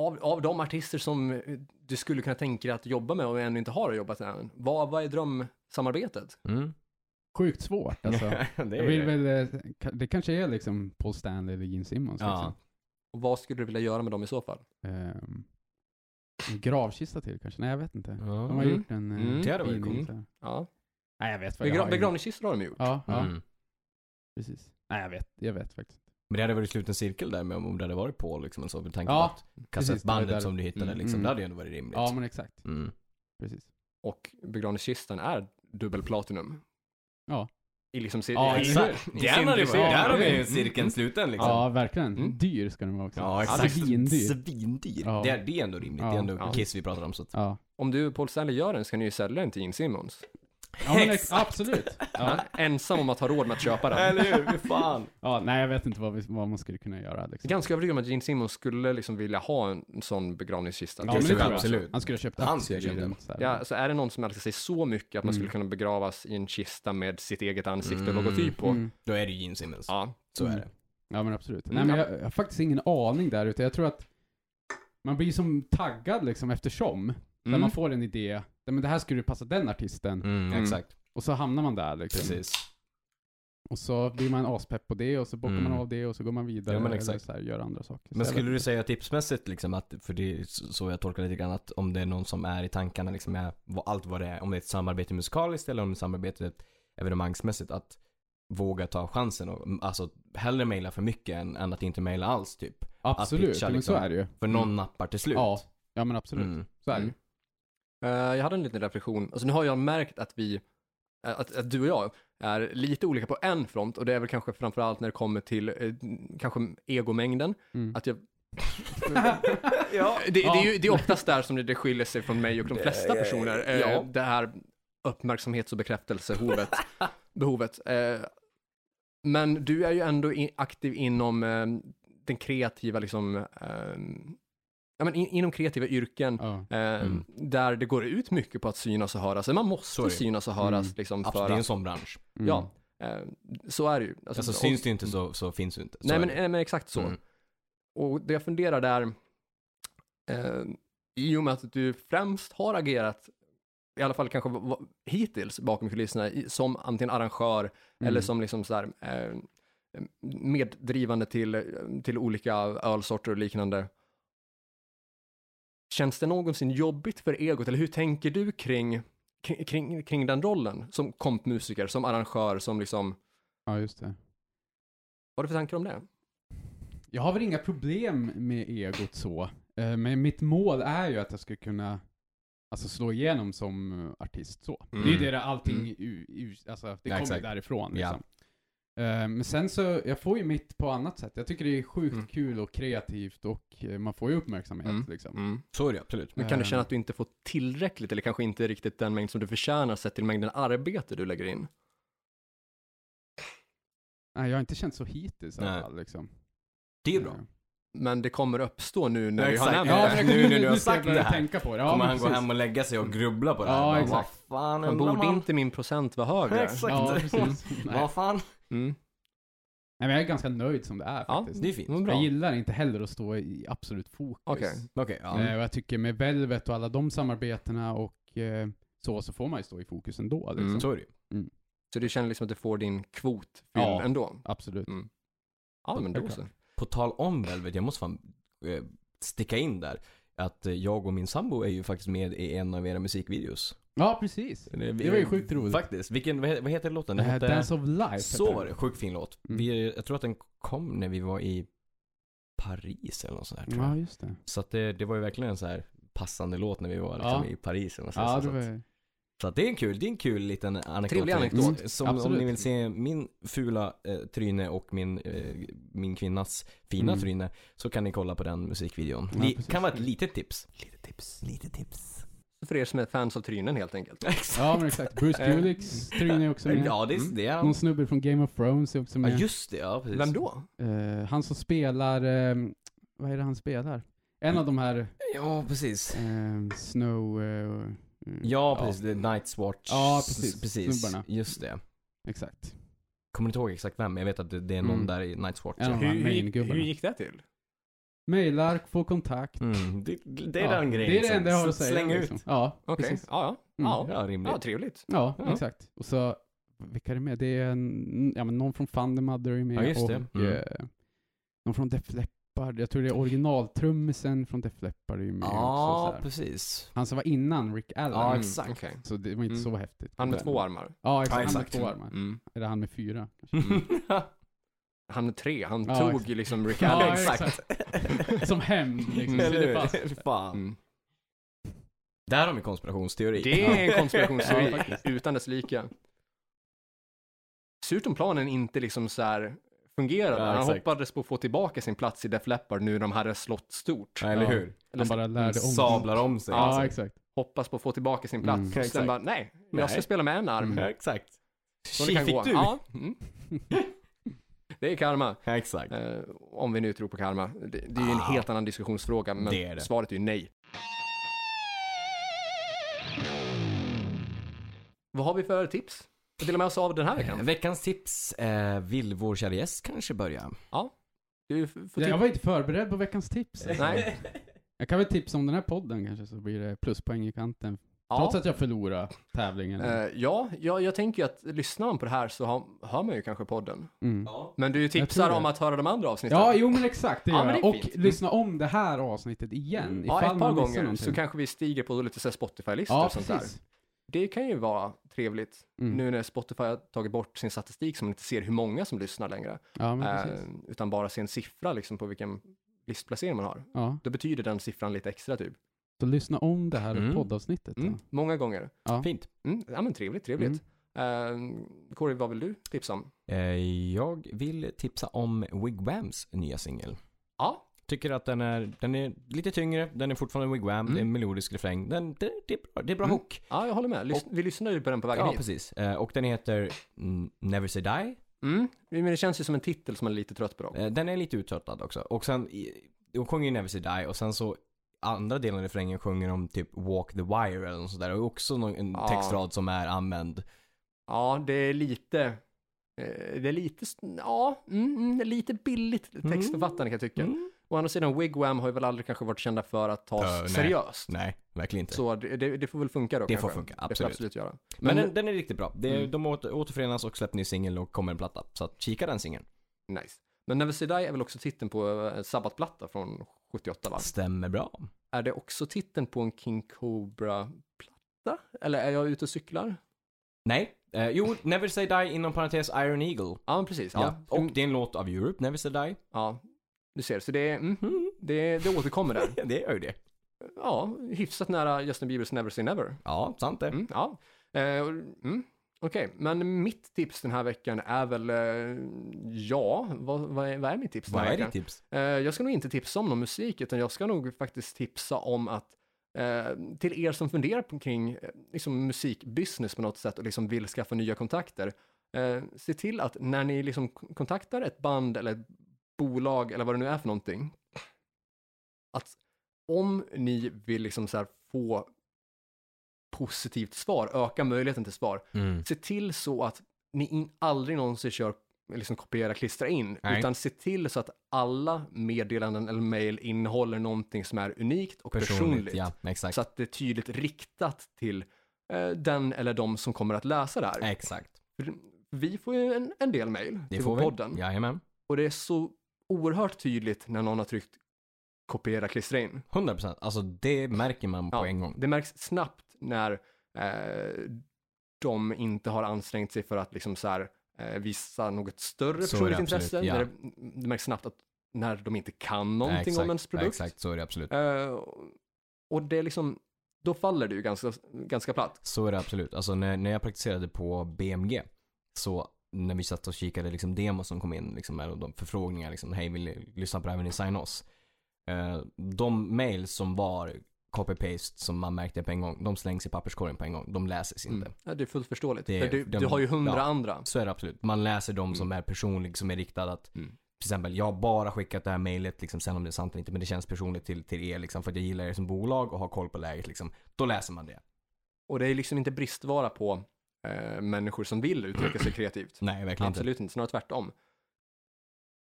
A: Av, av de artister som eh, du skulle kunna tänka dig att jobba med och ännu inte har jobbat med än, vad, vad är drömsamarbetet?
B: Mm.
C: Sjukt svårt alltså.
B: det
C: jag
B: är
C: vill
B: det.
C: väl, eh, ka- det kanske är liksom Paul Stanley eller Gene Simmons.
B: Ja.
A: Och vad skulle du vilja göra med dem i så fall?
C: Liksom. Ehm, en gravkista till kanske? Nej, jag vet inte.
B: Ja.
C: De har
A: Mm.
C: gjort en... eh,
A: Mm.
B: Det hade varit
C: fin
B: coolt.
C: insats.
A: Ja.
C: Nej, jag vet vad jag
A: Begra-
C: har.
A: begravningskistor har de gjort.
C: Ja, ja
B: Mm.
C: precis. Nej, jag vet, jag vet faktiskt.
B: Men det hade varit sluten cirkel där med om det hade varit Paul liksom och så med tanke
C: Ja,
B: på att kassettbandet
C: det var där.
B: som du hittade
A: Mm,
B: liksom,
C: mm.
B: det hade ju ändå varit rimligt.
C: Ja, men exakt.
B: Mm.
C: Precis.
A: Och begravningskistan är dubbelplatinum.
C: Ja.
A: I liksom ser-
C: Ja,
A: i-
C: exakt.
A: i- i
B: Där hade vi-
A: sin-
B: där har vi
C: Mm.
B: ju cirkeln sluten liksom.
C: Ja, verkligen.
A: Mm.
C: Dyr ska den vara också. Alltså,
B: Ja, exakt.
C: Svindyr.
B: Svindyr.
C: Ja.
B: Det, är, det är ändå rimligt. Det är
C: Ja.
B: ändå
A: Ja.
B: Kiss vi pratar om så att...
C: Ja.
A: Om du Paul Stanley gör den så kan du ju sälja den till Gene Simmons.
C: ja men ex-
B: Exakt.
C: absolut.
A: Han
C: Ja.
A: är Ensam om att ha råd med att köpa den.
B: Eller hur? Fy fan.
C: ja, nej jag vet inte vad, vi, vad man skulle kunna göra
A: Jag är
C: liksom.
A: ganska övertygad om att Gene Simmons skulle liksom vilja ha en sån begravningskista.
C: Ja,
B: det
C: men
B: tror jag
C: tror jag.
B: absolut.
C: Han skulle ha köpt
B: Han
C: aktier
B: skulle ha
C: i den.
B: köpt
C: så här.
A: Ja, så är det någon som älskar sig så mycket att man
C: Mm.
A: skulle kunna begravas i en kista med sitt eget ansikte och
B: Mm.
A: logotyp på.
C: Mm.
B: Då är det ju Gene Simmons.
A: Ja.
B: Så är det.
C: Ja men absolut.
A: Mm,
C: Nej men
A: ja.
C: jag, jag har faktiskt ingen aning där ute. Jag tror att man blir som taggad liksom eftersom. När
A: Mm.
C: man får en idé. Nej, men det här skulle ju passa den artisten.
B: Mm,
A: Mm.
B: Exakt.
C: Och så hamnar man där liksom.
B: Precis.
C: Och så blir man aspepp på det och så bockar
B: Mm.
C: man av det och så går man vidare.
B: Ja, men
C: eller
B: exakt.
C: Så här, gör andra saker.
B: Men
C: så jag
B: skulle
C: vet
B: du
C: inte.
B: säga tipsmässigt liksom att, för det är så jag tolkar lite grann, att om det är någon som är i tankarna liksom är, vad- allt vad det är, om det är ett samarbete musikaliskt eller om det är ett samarbete evenemangsmässigt, att våga ta chansen och mm, alltså hellre mejla för mycket än, än att inte mejla alls typ.
C: Absolut,
B: pitcha,
C: men
B: liksom?
C: så är det ju.
B: För någon
C: Mm.
B: nappar till slut.
C: Ja, ja men absolut.
B: Mm.
C: Så är det ju.
A: Mm. Eh, jag hade en liten reflektion. Alltså nu har jag märkt att vi, eh, att, att du och jag är lite olika på en front och det är väl kanske framförallt när det kommer till eh, kanske egomängden.
C: Mm.
A: Att jag
B: ja.
A: Det, det,
C: Ja.
A: är ju, det är oftast där som det, det skiljer sig från mig och de flesta personer. Eh,
B: Ja.
A: Det här uppmärksamhets och bekräftelsebehovet. behovet. Eh, men du är ju ändå i- aktiv inom eh, den kreativa, liksom, eh, ja, men in, inom kreativa yrken.
C: Ja.
A: Eh,
B: Mm.
A: Där det går ut mycket på att synas och höras. Man måste
B: Så är det.
A: synas och höras.
C: Mm.
A: Liksom,
B: Absolut,
A: för
B: det är en
A: att,
B: sån bransch.
C: Mm.
A: Ja. eh, så är det ju. Alltså,
B: Alltså
A: och-
B: syns det inte så, så finns det inte. Så
A: Nej
B: är
A: men,
B: det.
A: nej, men exakt så.
B: Mm.
A: Och det jag funderar där, eh, i och med att du främst har agerat, i alla fall kanske va- va- hittills bakom kulisserna, i- som antingen arrangör eller
C: Mm.
A: som liksom så här, eh, meddrivande till, eh, till olika ölsorter och liknande. Känns det någonsin jobbigt för egot, eller hur tänker du kring, kring- kring, kring den rollen som kompmusiker, som arrangör, som liksom,
C: ja, just det.
A: vad har du för tankar om det?
C: Jag har väl inga problem med egot så. Eh, Men mitt mål är ju att jag ska kunna alltså, slå igenom som eh, artist så.
A: Mm.
C: Det är ju det där allting,
B: Mm.
C: u, u, alltså, det
B: Ja,
C: kommer
B: exakt.
C: därifrån.
B: Ja.
C: Liksom. Eh, Men sen så, jag får ju mitt på annat sätt. Jag tycker det är sjukt
A: Mm.
C: kul och kreativt och eh, man får ju uppmärksamhet
A: Mm.
C: liksom.
B: Så är det absolut.
A: Men kan du
C: Eh,
A: känna att du inte får tillräckligt eller kanske inte riktigt den mängd som du förtjänar sett till mängden arbete du lägger in?
C: Nej, jag har inte känt så hittills i alla
B: Nej.
C: fall liksom.
B: Det är bra.
C: Eh,
A: Men det kommer uppstå nu när
B: Ja,
A: vi har
B: exakt.
A: nämnt
C: Ja,
B: men
A: det.
C: nu,
B: nu
C: nu,
B: när du har
C: ska jag
B: sagt
C: börja
B: det här
C: tänka på det. Ja,
B: Kommer
C: men
B: han gå
C: precis.
B: hem och lägga sig och grubbla på det
C: Ja,
B: här? Bara,
C: exakt.
B: Vad fan
A: Fan,
B: undrar
A: borde
B: man?
A: inte min procent vara högre?
B: Exakt.
C: Ja, precis. Nej.
B: Vad fan?
A: Mm.
C: Nej, men jag är ganska nöjd som det är
A: Ja,
C: faktiskt.
B: Det är fint.
A: Mm, bra.
C: Jag gillar inte heller att stå i absolut fokus.
A: Okej.
B: Okej, Mm. ja.
C: Eh, och jag tycker med Velvet och alla de samarbetena och eh, så, så får man ju stå i fokus ändå. Liksom.
A: Mm.
B: Så är det ju.
A: Så du känner liksom att du får din kvot fylld
C: Ja.
A: ändå?
C: Absolut.
A: Mm. Ja, men då
C: Självklart.
A: så.
B: På tal om Velvet, jag måste fan eh, sticka in där. Att eh, jag och min sambo är ju faktiskt med i en av era musikvideos.
C: Ja, precis. Det var ju sjukt roligt.
B: Faktiskt. Vilken, vad he- vad heter låten?
C: Det
B: Den
C: här
B: hette...
C: Dance of Life.
B: Så
C: heter
B: var det.
C: den.
B: Sjukt fin låt.
C: Mm.
B: Vi, jag tror att den kom när vi var i Paris eller något sånt där, tror
C: Ja,
B: jag.
C: just det.
B: Så att det, det var ju verkligen en så här passande låt när vi var liksom,
C: Ja.
B: i Paris eller något sånt.
C: Ja, det
B: så, att,
C: var...
B: så att det är en kul, det är en kul liten anekdot.
A: Trevlig
B: här.
A: anekdot.
C: Mm.
B: Som, om
C: Absolut.
B: ni vill se min fula eh, tryne och min, eh, min kvinnas fina
C: Mm.
B: tryne så kan ni kolla på den musikvideon.
C: Ja,
B: det
C: precis.
B: kan vara ett litet tips. Litet tips. Litet tips.
A: För er som är fans av trynen helt enkelt.
B: Exakt.
C: ja, men exakt. Bruce
A: Eh,
C: Kuliks Tryne är också med. Mm.
B: Ja, det är, det är
C: Någon
B: han.
C: snubbe från Game of Thrones är också
B: Ja,
C: med.
B: just det. Ja, precis.
A: Vem då?
C: Eh, han som spelar, eh, vad är det han spelar? En av de här
B: Ja, precis.
C: eh, Snow... Eh, mm,
B: Ja, precis. The Night's Watch.
C: Ja, precis.
B: precis.
C: Snubbarna.
B: Just det.
C: Exakt.
B: Kommer inte ihåg exakt vem, men jag vet att det, det är någon
C: Mm.
B: där i Night's Watch.
C: Ja.
A: Hur, hur,
C: main-gubbarna.
A: hur gick det till?
C: Mejlar, få kontakt.
B: Mm. Det, det är
C: Ja,
B: den grejen.
C: Det är det
B: som-
C: enda jag har
B: så
C: att säga.
B: Släng ut.
C: liksom. Ja,
A: Okej,
C: precis.
A: ja,
C: Mm.
A: ja. ja.
B: Ja, rimligt.
A: Ja, trevligt.
C: Ja,
B: Ja.
C: exakt. Och så, vilka är det med? Det är en, ja, men någon från Thundermother är med
B: Ja, just
C: och
B: det. Mm.
C: eh, någon från Def Leppard. Jag tror det är originaltrummisen från Def Leppard är ju med också.
B: Ja,
C: sådär.
B: precis.
C: Han som var innan Rick Allen.
B: Ja,
A: Mm,
B: exakt.
A: okej.
C: Så det var inte
A: Mm.
C: så häftigt.
A: Han med
C: Men-
A: två armar.
C: Ja, exakt.
B: Ja, exakt. Mm.
C: Han med två armar.
A: Mm.
C: Eller han med fyra.
A: Han med tre, han
C: Ja,
A: tog
C: exakt.
A: ju liksom Rick
C: Ja,
A: Allen.
C: exakt. Som hämnd liksom.
A: Mm.
C: Så det är fast.
B: hur? Fan.
A: Mm.
B: Där har vi konspirationsteori.
A: Det är en
C: Ja,
A: konspirationsteori
C: faktiskt.
A: utan dess lika. Surt om planen inte liksom så här fungerade.
B: Ja,
A: han
B: exakt.
A: hoppades på att få tillbaka sin plats i Def Leppard nu när de hade slått stort. Alltså,
B: Ja, eller
C: Ja.
B: hur?
C: Han bara lärde om
B: Sablar om sig. Alltså.
C: Ja,
B: exakt.
C: exakt.
A: Hoppas på att få tillbaka sin
C: Mm.
A: plats.
B: Ja,
A: Och sen
B: exakt.
A: bara, nej,
B: Nej.
A: jag ska spela med en arm.
C: Mm.
B: Ja, exakt.
A: Så det kan
B: fick
A: gå.
B: du.
A: Ja, mm. Det är karma.
B: Ja, exakt.
A: Eh, om vi nu tror på karma. Det, det är ju en
B: Ah.
A: helt annan diskussionsfråga, men
B: Det är det.
A: svaret är ju nej. Vad har vi för tips? Att dela med oss av den här veckan?
B: Veckans tips. Eh, vill vår kära gäst kanske börja?
A: Du f- får
C: Ja, Jag
A: tips.
C: var inte förberedd på veckans tips. alltså.
A: Nej.
C: Jag kan väl tipsa om den här podden kanske så blir det pluspoäng i kanten. Trots
A: Ja.
C: att jag förlorar tävlingen.
A: Eh, ja, jag, jag tänker ju att lyssnar man på det här så har, hör man ju kanske podden.
C: Mm.
A: Men du
C: tror
A: tipsar
C: det.
A: om att höra de andra avsnitten.
C: Ja, jo men exakt, det
A: Ja,
C: gör
A: men
C: jag.
A: det är
C: Och
A: fint. Mm.
C: lyssna om det här avsnittet igen.
A: Ja,
C: ifall
A: ett par
C: man missar
A: gånger
C: någonting.
A: så kanske vi stiger på lite så här Spotify-listor
C: Ja,
A: och sånt där.
C: precis.
A: Det kan ju vara trevligt
C: Mm.
A: nu när Spotify har tagit bort sin statistik så man inte ser hur många som lyssnar längre.
C: Ja, men
A: Eh,
C: precis.
A: utan bara se en siffra liksom på vilken listplacering man har.
C: Ja.
A: Då betyder den siffran lite extra typ.
C: Så lyssna om det här
B: Mm.
C: poddavsnittet. då.
A: Mm. Många gånger.
C: Ja.
B: Fint.
A: Mm. Ja men trevligt, trevligt.
C: Mm.
A: Eh, Kåre, vad vill du tipsa om?
B: Eh, jag vill tipsa om Wigwams nya singel.
A: Ja.
B: tycker att den är, den är lite tyngre, den är fortfarande wigwam,
A: Mm.
B: det är en melodisk refräng. Den, det, det är bra, det är bra
A: Mm.
B: hook.
A: Ja, jag håller med. Lys- vi lyssnade ju på den på vägen
B: Ja,
A: hit.
B: precis. Eh, och den heter mm, Never Say Die.
A: Mm. Men det känns ju som en titel som man är lite trött på. Då.
B: Eh, den är lite uttröttad också. Och sen, i- hon sjunger ju Never Say Die och sen så andra delen av refrängen sjunger om typ Walk the Wire eller något sånt där. Och också någon, en
A: Ja.
B: textrad som är använd.
A: Ja, det är lite... eh, Det är lite, s- ja, mm, mm, det är lite billigt textförfattande kan jag tycka.
B: Mm.
A: Å andra sidan, Wigwam har ju väl aldrig kanske varit kända för att
B: Ja,
A: tas
B: nej.
A: seriöst.
B: Nej, verkligen inte.
A: Så det, det, det får väl funka då
B: det
A: kanske.
B: får funka,
A: Det får det
B: absolut.
A: absolut göra.
B: Men,
A: Men,
B: den, den är riktigt bra. Det,
A: Mm.
B: De åter, återförenas och släppte ny singel och kommer en platta. Så att kika den singeln.
A: nice. Men Never Say Die är väl också titeln på en Sabbatplatta från 78 va?
B: Stämmer bra.
A: Är det också titeln på en King Cobra-platta? Eller är jag ute och cyklar?
B: Nej. Eh, jo, Never Say Die inom parentes Iron Eagle.
A: Ja, men precis.
B: Ja.
A: Ja.
B: Och
A: Mm,
B: det är en låt av Europe, Never Say Die.
A: ja. Du ser, så det, är- mm,
B: Mm.
A: det, det återkommer där.
B: Ja, det gör ju det.
A: Ja, hyfsat nära Justin Biebers Never Say Never.
B: Ja, sant det.
A: Mm, ja. Eh, och- mm. Okej, men mitt tips den här veckan är väl, eh, ja, vad, vad, är, vad är mitt tips den
B: Vad
A: här
B: är
A: veckan?
B: ditt tips?
A: Eh, Jag ska nog inte tipsa om någon musik, utan jag ska nog faktiskt tipsa om att eh, till er som funderar på, kring eh, liksom, musikbusiness på något sätt och liksom vill skaffa nya kontakter, eh, se till att när ni liksom k- kontaktar ett band eller ett bolag eller vad det nu är för någonting, att om ni vill liksom så här få positivt svar, öka möjligheten till svar,
B: Mm.
A: se till så att ni in, aldrig någonsin kör liksom kopiera, klistra in,
B: Nej.
A: utan se till så att alla meddelanden eller mejl innehåller någonting som är unikt och personligt.
B: Ja, exakt.
A: Så att det är tydligt riktat till eh, den eller de som kommer att läsa det här.
B: Exakt.
A: För Vi får ju en, en del mejl
B: Det
A: till
B: får
A: får
B: vi.
A: podden
B: Jajamän.
A: och det är så oerhört tydligt när någon har tryckt kopiera, klistra in.
B: 100%. Alltså det märker man på
A: Ja,
B: en gång.
A: Det märks snabbt när eh, de inte har ansträngt sig för att liksom så här, eh, visa något större
B: Så är det
A: personligt
B: absolut,
A: intresse.
B: ja.
A: När det, det märks snabbt att när de inte kan någonting
B: exakt,
A: om ens produkt.
B: Exakt, så är det absolut.
A: Eh, och det är liksom, då faller det ju ganska, ganska platt.
B: Så är det absolut. Alltså när, när jag praktiserade på BMG, så när vi satt och kikade liksom demos som kom in, liksom, och de förfrågningar, liksom, hej vill ni lyssna på det här, vill ni signa oss? Eh, de mail som var copy-paste som man märkte på en gång, de slängs i papperskorgen på en gång. De läses inte.
A: Mm. Ja, det är fullt förståeligt.
B: Det-
A: för du,
B: de-
A: du har ju hundra
B: ja.
A: andra.
B: Så är det absolut. Man läser de som är personlig, som är riktad att
A: Mm.
B: till exempel, jag har bara skickat det här mejlet, liksom, sen om det är sant eller inte, men det känns personligt till, till er liksom, för att jag gillar er som bolag och har koll på läget liksom. Då läser man det.
A: Och det är liksom inte bristvara på eh, människor som vill uttrycka sig kreativt.
B: Nej, verkligen
A: Absolut inte, snarare tvärtom.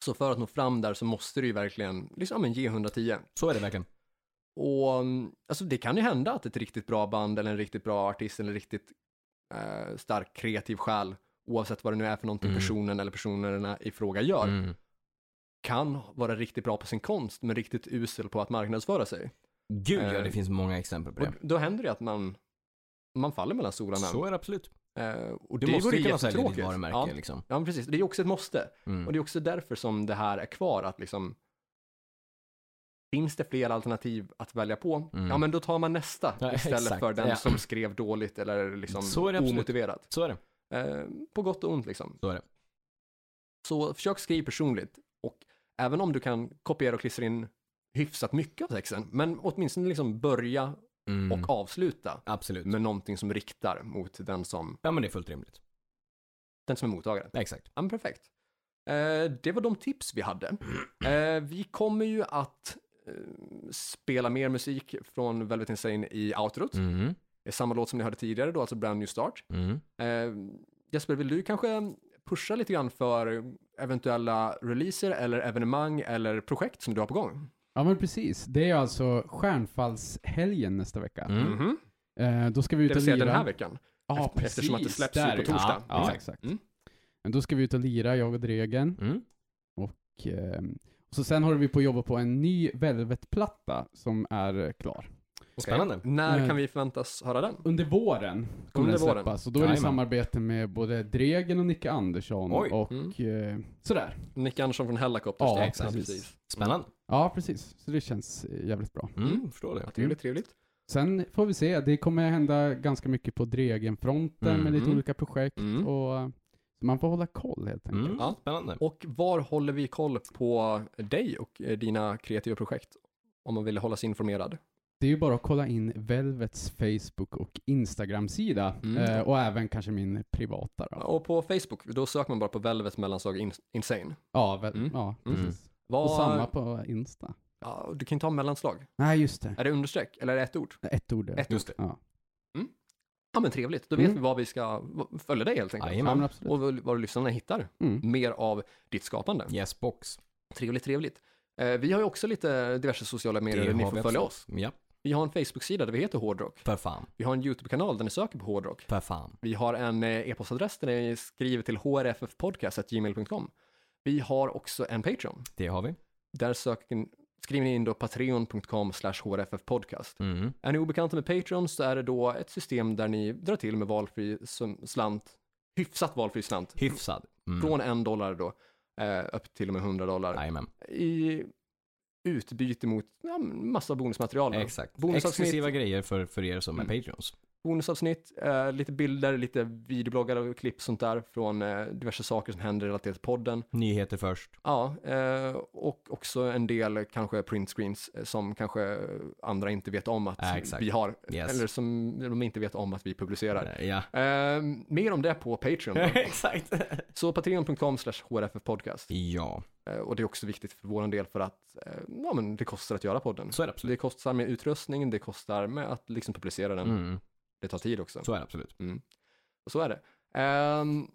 A: Så för att nå fram där så måste du ju verkligen liksom, ja, men ge 110.
B: inte. Så är det verkligen.
A: Och mm, alltså, det kan ju hända att ett riktigt bra band eller en riktigt bra artist eller en riktigt eh, stark kreativ själ, oavsett vad det nu är för någonting
B: Mm.
A: personen eller personerna i fråga gör,
B: Mm.
A: kan vara riktigt bra på sin konst men riktigt usel på att marknadsföra sig.
B: Gud ja, det
A: Eh,
B: finns många exempel på det.
A: Och då händer det att man, man faller mellan stolarna.
B: Så är det absolut.
A: Eh, och
B: Du
A: det
B: måste
A: vore
B: ju kunna sälja ditt
A: jättetråkigt.
B: varumärke
A: Ja,
B: liksom.
A: ja, men precis. Det är ju också ett måste.
B: Mm.
A: Och det är också därför som det här är kvar, att liksom finns det fler alternativ att välja på,
B: Mm.
A: ja men då tar man nästa
B: Ja,
A: istället
B: exakt,
A: för den
B: ja.
A: som skrev dåligt eller liksom
B: Så är det absolut.
A: omotiverat.
B: Så är det.
A: Eh, på gott och ont liksom.
B: Så är det.
A: Så försök skriva personligt och även om du kan kopiera och klistra in hyfsat mycket av texten, men åtminstone liksom börja
B: Mm.
A: och avsluta
B: Absolut.
A: med någonting som riktar mot den som,
B: Ja men det är fullt rimligt.
A: den som är mottagare.
B: Exakt.
A: Ja, men perfekt. Eh, det var de tips vi hade. Eh, vi kommer ju att eh, spela mer musik från Velvet Insane i outrot.
B: Mm.
A: Det är samma låt som ni hörde tidigare då, alltså Brand New Start.
B: Mm.
A: Eh, Jesper, vill du kanske pusha lite grann för eventuella releaser eller evenemang eller projekt som du har på gång?
C: Ja men precis, det är alltså stjärnfallshelgen nästa vecka.
B: Mm.
A: Mhm.
C: Eh, då ska vi ut
A: Det
C: och
A: vill säga
C: lira.
A: den här veckan.
C: Ja,
A: Eft- eftersom att det
C: precis,
A: släpps
C: där
A: ju på
C: ja.
A: torsdag.
C: Ja,
B: Exakt.
C: exakt.
A: Mm.
C: Men då ska vi ut och lira, jag och Dregen.
B: Mm.
C: Och, ehm, och så sen håller vi på att jobba på en ny Velvet-platta som är eh, klar.
A: Okej.
B: Spännande.
A: När
C: Mm.
A: kan vi förväntas höra den?
C: Under våren kommer
A: Under
C: den
A: våren.
C: släppas. Och då är det i
B: Jajamän.
C: samarbete med både Dregen och Nicke Andersson
B: Oj.
C: och
A: Mm.
C: eh, sådär.
A: Nick Andersson från Hellacopters.
C: Ja,
A: det är
C: precis.
B: Spännande.
C: Ja, precis. Så det känns eh, jävligt bra.
B: Mm.
A: Mm.
B: Förstår det.
A: Ja, trevligt, trevligt.
C: Sen får vi se, det kommer hända ganska mycket på Dregen-fronten med lite
A: Mhm.
C: olika projekt
A: Mm.
C: och eh, Man får hålla koll helt enkelt.
B: Mm,
A: Ja.
B: Spännande.
A: Och var håller vi koll på dig och eh, dina kreativa projekt? Om man vill hålla sig informerad.
C: Det är ju bara att kolla in Velvets Facebook och Instagram-sida.
A: Mm.
C: Eh, och även kanske min privata då.
A: Och på Facebook, då söker man bara på Velvet mellanslag in- insane.
C: Ja, väl,
A: Mm.
C: ja
B: Mm.
C: precis.
A: Vad-
C: Och samma på Insta.
A: Ja, du kan ju ta mellanslag.
C: Nej, just det.
A: Är det understreck eller är det ett ord?
C: Ett ord.
A: Ett
B: Just det.
C: Ja.
A: Ja men trevligt, då vet
C: Mm.
A: vi vad vi ska v- följa dig helt enkelt.
B: Jajamän.
C: Ja, men absolut.
A: Och vad lyssnarna hittar.
C: Mm.
A: Mer av ditt skapande.
B: Yes box.
A: Trevligt, trevligt. Eh, Vi har ju också lite diverse sociala medier där ni
B: har
A: får
B: vi
A: följa
B: absolut.
A: oss.
B: Ja,
A: Vi har en Facebook-sida där vi heter Hårdrock.
B: för fan.
A: Vi har en YouTube-kanal där ni söker på Hårdrock.
B: För fan.
A: Vi har en eh, e-postadress där ni skriver till hrffpodcast.gmail.com. Vi har också en Patreon.
B: Det har vi.
A: Där söker, ni- skriver ni in då patreon.com slash hrffpodcast.
B: Mm.
A: Är ni obekanta med Patreon så är det då ett system där ni drar till med valfri sum- slant, hyfsat valfri slant,
B: Hyfsad. Mm.
A: från en dollar då, eh, upp till och med 100 dollar.
B: Jajamän.
A: i utbyte mot ja, men massa bonusmaterial.
B: Exakt.
A: Bonusavsnitt.
B: Exklusiva grejer för, för er som är
A: Mm.
B: patreons.
A: Bonusavsnitt, eh, lite bilder, lite videobloggar och klipp sånt där från eh, diverse saker som händer relaterat till podden.
B: Nyheter först.
A: Ja, eh, och också en del eh, kanske printscreens eh, som kanske andra inte vet om att
B: Ja, exakt.
A: vi har.
B: Yes.
A: Eller som de inte vet om att vi publicerar.
B: Ja.
A: Eh, mer om det på Patreon. Då.
B: Exakt.
A: Så patreon.com slash hrffpodcast.
B: ja,
A: Eh, och det är också viktigt för vår del för att eh, ja, men det kostar att göra podden.
B: så är det
A: Så det
B: absolut.
A: kostar med utrustning, det kostar med att liksom publicera den.
B: Mm.
A: Det tar tid också.
B: Så är det absolut.
A: Så är det. Ehm,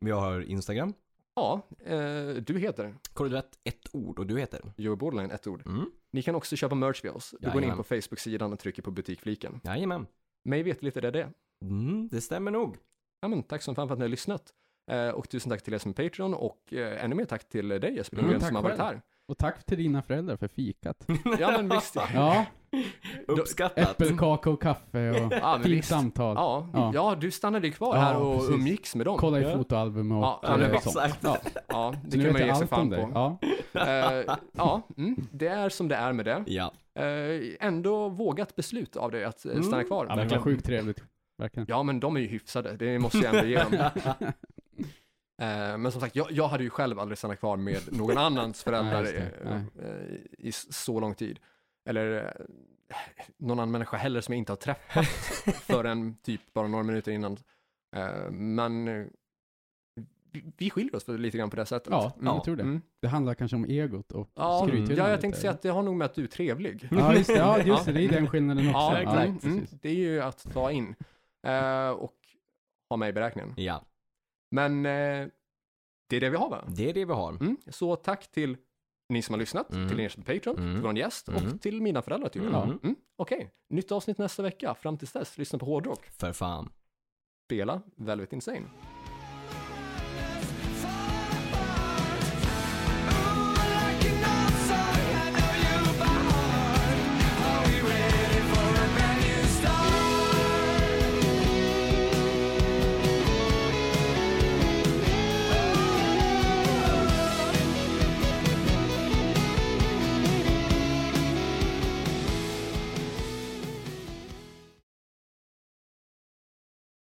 B: Vi har Instagram.
A: ja, eh, du heter
B: Korridorett, ett ord och du heter?
A: Joey Borderline, ett ord.
B: Mm.
A: Ni kan också köpa merch via oss. Du går in
B: Jajamän.
A: på Facebook-sidan och trycker på butikfliken.
B: Jajamän.
A: Mig vet lite det är det.
B: Mm, det stämmer nog.
A: Ja, men, tack som fan för att ni har lyssnat. Eh, och tusen tack till er som är Patreon och eh, ännu mer tack till dig Jesper
B: Mm,
A: Lundgren
C: tack
A: som har varit
C: själv.
A: här.
C: Och tack till dina föräldrar för fikat.
A: Ja men visst. ja.
C: Ja,
B: Uppskattat.
C: äppelkaka och kaffe och
A: Ja, men
C: fint
A: visst.
C: samtal.
A: Ja,
C: Ja.
A: ja, du stannade ju kvar
C: Ja,
A: här och
C: precis.
A: umgicks med dem.
C: Kolla i
B: Ja.
C: fotoalbum och
A: Ja, ja,
C: eh,
A: men
C: sånt.
B: exakt.
C: Ja.
A: Ja,
C: Så
A: det
C: nu
A: kan man
C: vet
A: ge
C: jag
A: sig
C: allt om
A: fan
C: dig.
A: på.
C: Ja.
A: Eh, ja, mm, det är som det är med det.
B: Ja,
A: Eh, ändå vågat beslut av dig att eh,
B: Mm.
A: stanna kvar.
C: Ja, men det var sjukt trevligt. Verkligen.
A: Ja, men de är ju hyfsade, det måste jag ändå ge dem. Eh, men som sagt, jag, jag hade ju själv aldrig stannat kvar med någon annans föräldrar
C: Nej, just det.
A: eh, eh, i s- så lång tid. Eller eh, någon annan människa heller som jag inte har träffat förrän typ bara några minuter innan. Eh, men eh, vi, vi skiljer oss för lite grann på det sättet.
C: Ja,
B: Ja.
C: jag tror det.
A: Mm.
C: Det handlar kanske om egot och
A: Ja, mm.
C: skrythyllan.
A: ja, jag
C: lite,
A: tänkte säga
C: eller?
A: att det har nog med att du är trevlig.
C: Ja, just det. Ja, just det. Det är den skillnaden också.
A: Ja,
B: exakt.
A: mm, mm, det är ju att ta in eh, och ha med i beräkningen.
B: ja,
A: Men eh, det är det vi har va?
B: det är det vi har.
A: Mm. Så tack till ni som har lyssnat,
B: Mm.
A: till er som är Patreon,
B: Mm.
A: till vår gäst
B: Mm.
A: och till mina föräldrar tydligen.
B: Mm.
A: Mm. Okej, nytt avsnitt nästa vecka. Fram tills dess, lyssna på hårdrock.
B: För fan.
A: Spela Velvet Insane.